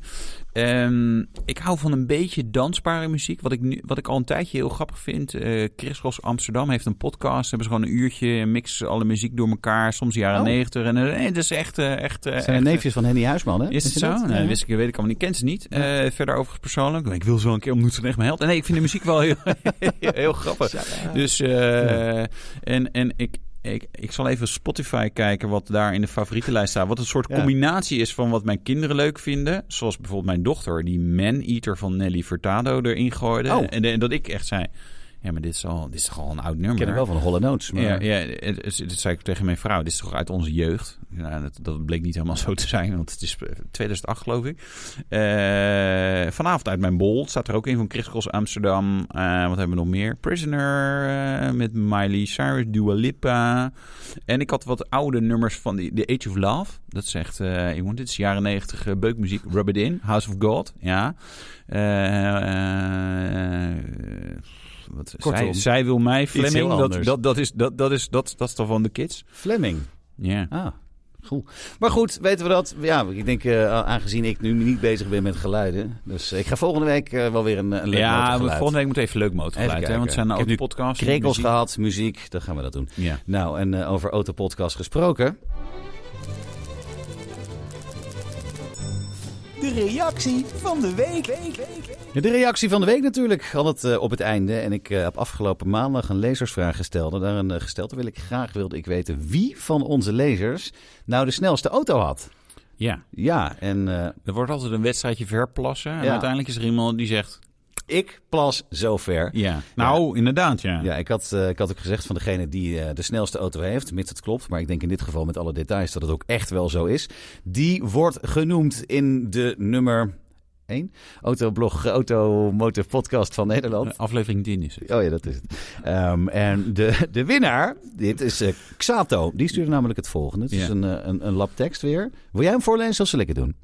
Speaker 2: Ehm, ik hou van een beetje dansbare muziek. Wat ik, nu, wat ik al een tijdje heel grappig vind. eh Chris Ross Amsterdam heeft een podcast. Hebben ze gewoon een uurtje, mixen alle muziek door elkaar. Soms de jaren
Speaker 1: Oh.
Speaker 2: negentig. En eh, nee, dat is echt... eh, echt eh,
Speaker 1: Dat zijn de
Speaker 2: echt,
Speaker 1: neefjes van Henny Huisman, hè?
Speaker 2: Is het
Speaker 1: Wist je
Speaker 2: zo?
Speaker 1: dat?
Speaker 2: Nee,
Speaker 1: Ja.
Speaker 2: wist ik, weet ik allemaal niet. Kent ze niet. Eh, verder overigens persoonlijk. Ik wil ze wel een keer ontmoeten. Ze echt mijn held. Nee, ik vind de muziek wel heel, heel grappig. Dus, eh, en, en ik, ik, ik zal even Spotify kijken wat daar in de favorietenlijst staat. Wat een soort
Speaker 1: Ja.
Speaker 2: combinatie is van wat mijn kinderen leuk vinden. Zoals bijvoorbeeld mijn dochter, die Man-Eater van Nelly Furtado erin gooide.
Speaker 1: Oh.
Speaker 2: En, en dat ik echt zei, ja, maar dit is, al, dit is toch al een oud nummer.
Speaker 1: Ik ken hem wel van Holle Notes. Maar...
Speaker 2: Ja, ja het, het- het zei ik tegen mijn vrouw. Dit is toch uit onze jeugd? Nou, dat, dat bleek niet helemaal zo te zijn, want het is eh, 2008 geloof ik. Eh, vanavond uit mijn bol staat er ook een van Chris Cross Amsterdam. Eh, wat hebben we nog meer? Prisoner eh, met Miley Cyrus, Dua Lipa. En ik had wat oude nummers van die, The Age of Love. Dat zegt, eh jongen, dit is jaren 90 eh, beukmuziek. Rub It In, House of God. Ja. Eh, eh, wat,
Speaker 1: Kortom,
Speaker 2: zij, zij wil mij,
Speaker 1: heel
Speaker 2: Fleming.
Speaker 1: anders.
Speaker 2: Dat, dat, dat, is, dat, dat, is, dat, dat is toch van de kids?
Speaker 1: Fleming.
Speaker 2: Ja.
Speaker 1: Ah, goed. Maar goed, weten we dat? Ja, ik denk, eh, aangezien ik nu niet bezig ben met geluiden. Dus ik ga volgende week eh, wel weer een, een leuk
Speaker 2: Ja, we
Speaker 1: motorgeluid.
Speaker 2: volgende week moet even leuk
Speaker 1: Even
Speaker 2: motorgeluid.
Speaker 1: kijken.
Speaker 2: Hè, want het zijn
Speaker 1: Ik
Speaker 2: nou
Speaker 1: heb
Speaker 2: ook
Speaker 1: nu
Speaker 2: podcasts.
Speaker 1: Krekels
Speaker 2: muziek.
Speaker 1: gehad, muziek, dan gaan we dat doen.
Speaker 2: Ja.
Speaker 1: Nou, en eh, over Autopodcast gesproken.
Speaker 3: De reactie van de week.
Speaker 1: Ja, De reactie van de week natuurlijk, al het eh, op het einde. En ik eh, heb afgelopen maandag een lezersvraag gesteld. En daarin eh, gesteld wil ik graag wilde ik weten wie van onze lezers nou de snelste auto had.
Speaker 2: ja.
Speaker 1: Ja, en eh,
Speaker 2: Er wordt altijd een wedstrijdje verplassen. En
Speaker 1: Ja.
Speaker 2: uiteindelijk is er iemand die zegt...
Speaker 1: ik plas zover.
Speaker 2: Ja. Nou, inderdaad, ja.
Speaker 1: Ja, ik had, eh, ik had ook gezegd van degene die eh, de snelste auto heeft, mits het klopt, maar ik denk in dit geval met alle details dat het ook echt wel zo is. Die wordt genoemd in de nummer 1 Autoblog, Automotive Podcast van Nederland.
Speaker 2: Aflevering 10 is het.
Speaker 1: Oh ja, dat is het. Ehm, en de, de winnaar, dit is eh, Xato, die stuurde namelijk het volgende. Het is
Speaker 2: Ja.
Speaker 1: een, eh, een, een lab tekst weer. Wil jij hem voorlezen of zal ik het doen?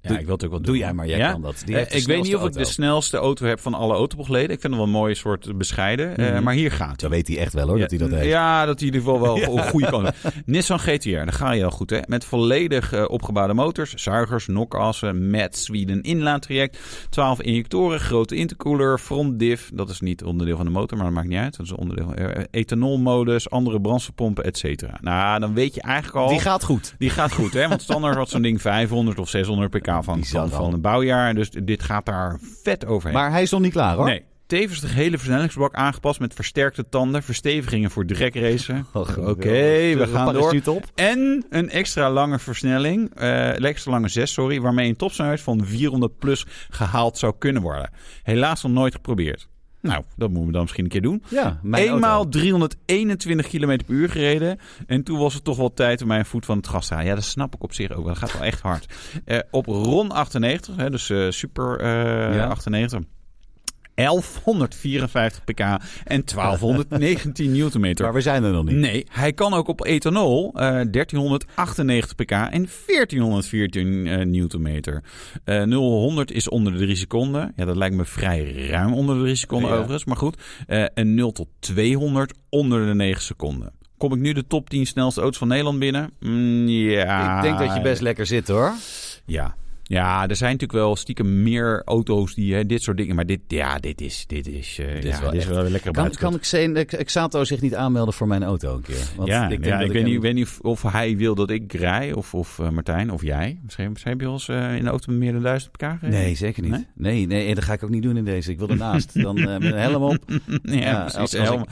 Speaker 2: Ja,
Speaker 1: Doe-
Speaker 2: ik wil het ook wel
Speaker 1: doe
Speaker 2: doen.
Speaker 1: jij maar, jij
Speaker 2: Ja?
Speaker 1: kan dat. Die
Speaker 2: Eh,
Speaker 1: heeft de
Speaker 2: ik weet niet of
Speaker 1: snelste
Speaker 2: ik de
Speaker 1: auto.
Speaker 2: snelste auto heb van alle autobogleden. Ik vind hem wel een mooie soort bescheiden. eh, maar hier gaat
Speaker 1: Zo weet hij echt wel hoor, dat hij dat heeft.
Speaker 2: Ja, dat hij in ieder geval wel een goede kan. Nissan GTR, daar ga je al goed hè. Met volledig eh, opgebouwde motors, zuigers, nokassen, met Sweden inlaattraject, 12 injectoren, grote intercooler, frontdiff. Dat is niet onderdeel van de motor, maar dat maakt niet uit. Dat is onderdeel van eh, ethanolmodus, andere brandstofpompen, et cetera. Nou, dan weet je eigenlijk al...
Speaker 1: Die gaat goed.
Speaker 2: Die gaat goed, hè? Want standaard had zo'n ding 500 of 600 pk van,
Speaker 1: Bizar
Speaker 2: van,
Speaker 1: al.
Speaker 2: van een bouwjaar. Dus dit gaat daar vet overheen.
Speaker 1: Maar hij is nog niet klaar hoor.
Speaker 2: Nee. Tevens de hele versnellingsbak aangepast met versterkte tanden, verstevigingen voor dragracen.
Speaker 1: Oh,
Speaker 2: Oké,
Speaker 1: geweldig.
Speaker 2: we
Speaker 1: Een
Speaker 2: gaan door.
Speaker 1: parachute op.
Speaker 2: En een extra lange versnelling, eh, een extra lange 6, sorry, waarmee een topsnelheid van 400 plus gehaald zou kunnen worden. Helaas nog nooit geprobeerd. Nou, dat moeten we dan misschien een keer doen.
Speaker 1: Ja, mijn
Speaker 2: Eenmaal
Speaker 1: auto.
Speaker 2: 321 km per uur gereden. En toen was het toch wel tijd om mijn voet van het gas te halen. Ja, dat snap ik op zich ook. wel. Dat gaat wel echt hard. Eh, op RON 98, hè, dus eh, Super eh,
Speaker 1: Ja.
Speaker 2: 98. 1154 pk en 1219 newtonmeter.
Speaker 1: Maar we zijn er nog niet.
Speaker 2: Nee, hij kan ook op ethanol eh, 1398 pk en 1414 eh, newtonmeter. Eh 0-100 is onder de 3 seconden. Ja, dat lijkt me vrij ruim onder de 3 seconden
Speaker 1: Ja.
Speaker 2: overigens, maar goed. Eh, en 0 tot 200 onder de 9 seconden. Kom ik nu de top 10 snelste auto's van Nederland binnen? Mm, ja.
Speaker 1: Ik denk dat je best lekker zit hoor.
Speaker 2: Ja. Ja, er zijn natuurlijk wel stiekem meer auto's die hè, dit soort dingen. Maar dit, ja, dit is, dit is, eh, ja,
Speaker 1: wel
Speaker 2: dit is
Speaker 1: echt-
Speaker 2: wel lekker
Speaker 1: Kan, kan ik zijn, ik, Xato zich niet aanmelden voor mijn auto een keer? Want
Speaker 2: ja,
Speaker 1: denk
Speaker 2: ja,
Speaker 1: dat
Speaker 2: ik, weet
Speaker 1: hem-
Speaker 2: niet, ik weet niet of, of hij wil dat ik rij, of, of eh, Martijn, of jij. Misschien, misschien heb je wel eens eh, in de auto met meer dan duizend op elkaar gereden.
Speaker 1: Nee, zeker niet.
Speaker 2: Nee?
Speaker 1: Nee? Nee, en dat ga ik ook niet doen in deze. Ik wil ernaast. Dan eh, met een helm op.
Speaker 2: ja,
Speaker 1: Ja,
Speaker 2: precies.
Speaker 1: als- als
Speaker 2: Helemaal-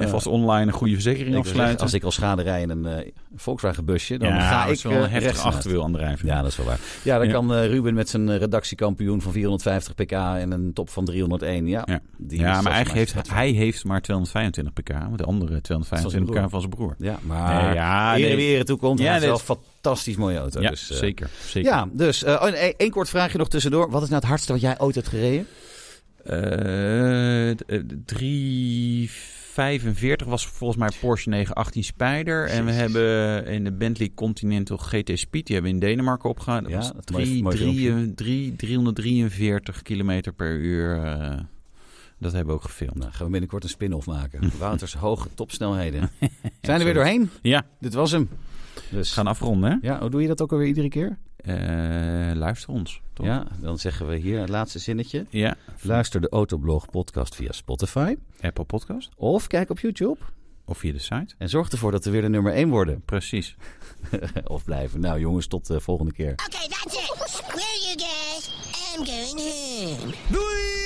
Speaker 2: en vast online een goede verzekering
Speaker 1: Ik wil zeggen,
Speaker 2: afsluiten.
Speaker 1: als ik al schade rij in een eh, Volkswagen busje, dan
Speaker 2: ja,
Speaker 1: ga
Speaker 2: dat
Speaker 1: ik
Speaker 2: is wel een
Speaker 1: eh,
Speaker 2: heftig
Speaker 1: rechts uit.
Speaker 2: achterwiel aan de rij.
Speaker 1: Ja, dat is wel waar. Ja, dan
Speaker 2: Ja.
Speaker 1: kan eh, Ruben met zijn eh, redactiekampioen van 450 pk en een top van 301. Ja,
Speaker 2: Ja.
Speaker 1: die is eh,
Speaker 2: ja maar
Speaker 1: volgens
Speaker 2: eigenlijk
Speaker 1: mij
Speaker 2: heeft,
Speaker 1: staat-
Speaker 2: hij heeft maar 225 pk, want de andere 225 pk
Speaker 1: broer.
Speaker 2: van zijn broer. Eh,
Speaker 1: Ja, maar
Speaker 2: Nee, ja, Ah, nee.
Speaker 1: ere wie ere toekomt,
Speaker 2: Ja,
Speaker 1: hij heeft
Speaker 2: dit-
Speaker 1: wel een fantastisch mooie auto.
Speaker 2: ja,
Speaker 1: dus, eh,
Speaker 2: zeker. zeker.
Speaker 1: Ja, dus eh, oh, en één- één kort vraagje nog tussendoor. Wat is nou het hardste wat jij ooit hebt gereden?
Speaker 2: Eh, d- eh, 345 was volgens mij Porsche 918 Spyder. En we
Speaker 1: Jezus.
Speaker 2: hebben in de Bentley Continental GT Speed, die hebben we in Denemarken opgehaald. Dat
Speaker 1: Ja,
Speaker 2: was
Speaker 1: dat
Speaker 2: drie-
Speaker 1: mooi- mooi
Speaker 2: drie-
Speaker 1: filmpje.
Speaker 2: eh, drie- 343 kilometer per uur. eh, dat hebben we ook gefilmd.
Speaker 1: Nou, gaan we binnenkort een spin-off maken. Wouters hoge topsnelheden. Zijn er weer doorheen?
Speaker 2: Ja,
Speaker 1: Dit was hem. Dus,
Speaker 2: we gaan afronden hè.
Speaker 1: ja, hoe doe je dat ook alweer iedere keer?
Speaker 2: Eh, luister ons, toch?
Speaker 1: Ja, dan zeggen we hier het laatste zinnetje.
Speaker 2: Ja.
Speaker 1: Luister de Autoblog podcast via Spotify
Speaker 2: Apple Podcast
Speaker 1: of kijk op YouTube.
Speaker 2: of via de site.
Speaker 1: En zorg ervoor dat we weer de nummer 1 worden.
Speaker 2: Precies.
Speaker 1: of blijven. Nou jongens, tot de volgende keer.
Speaker 4: Okay, that's it. Screw you guys. I'm going home.
Speaker 3: Doei!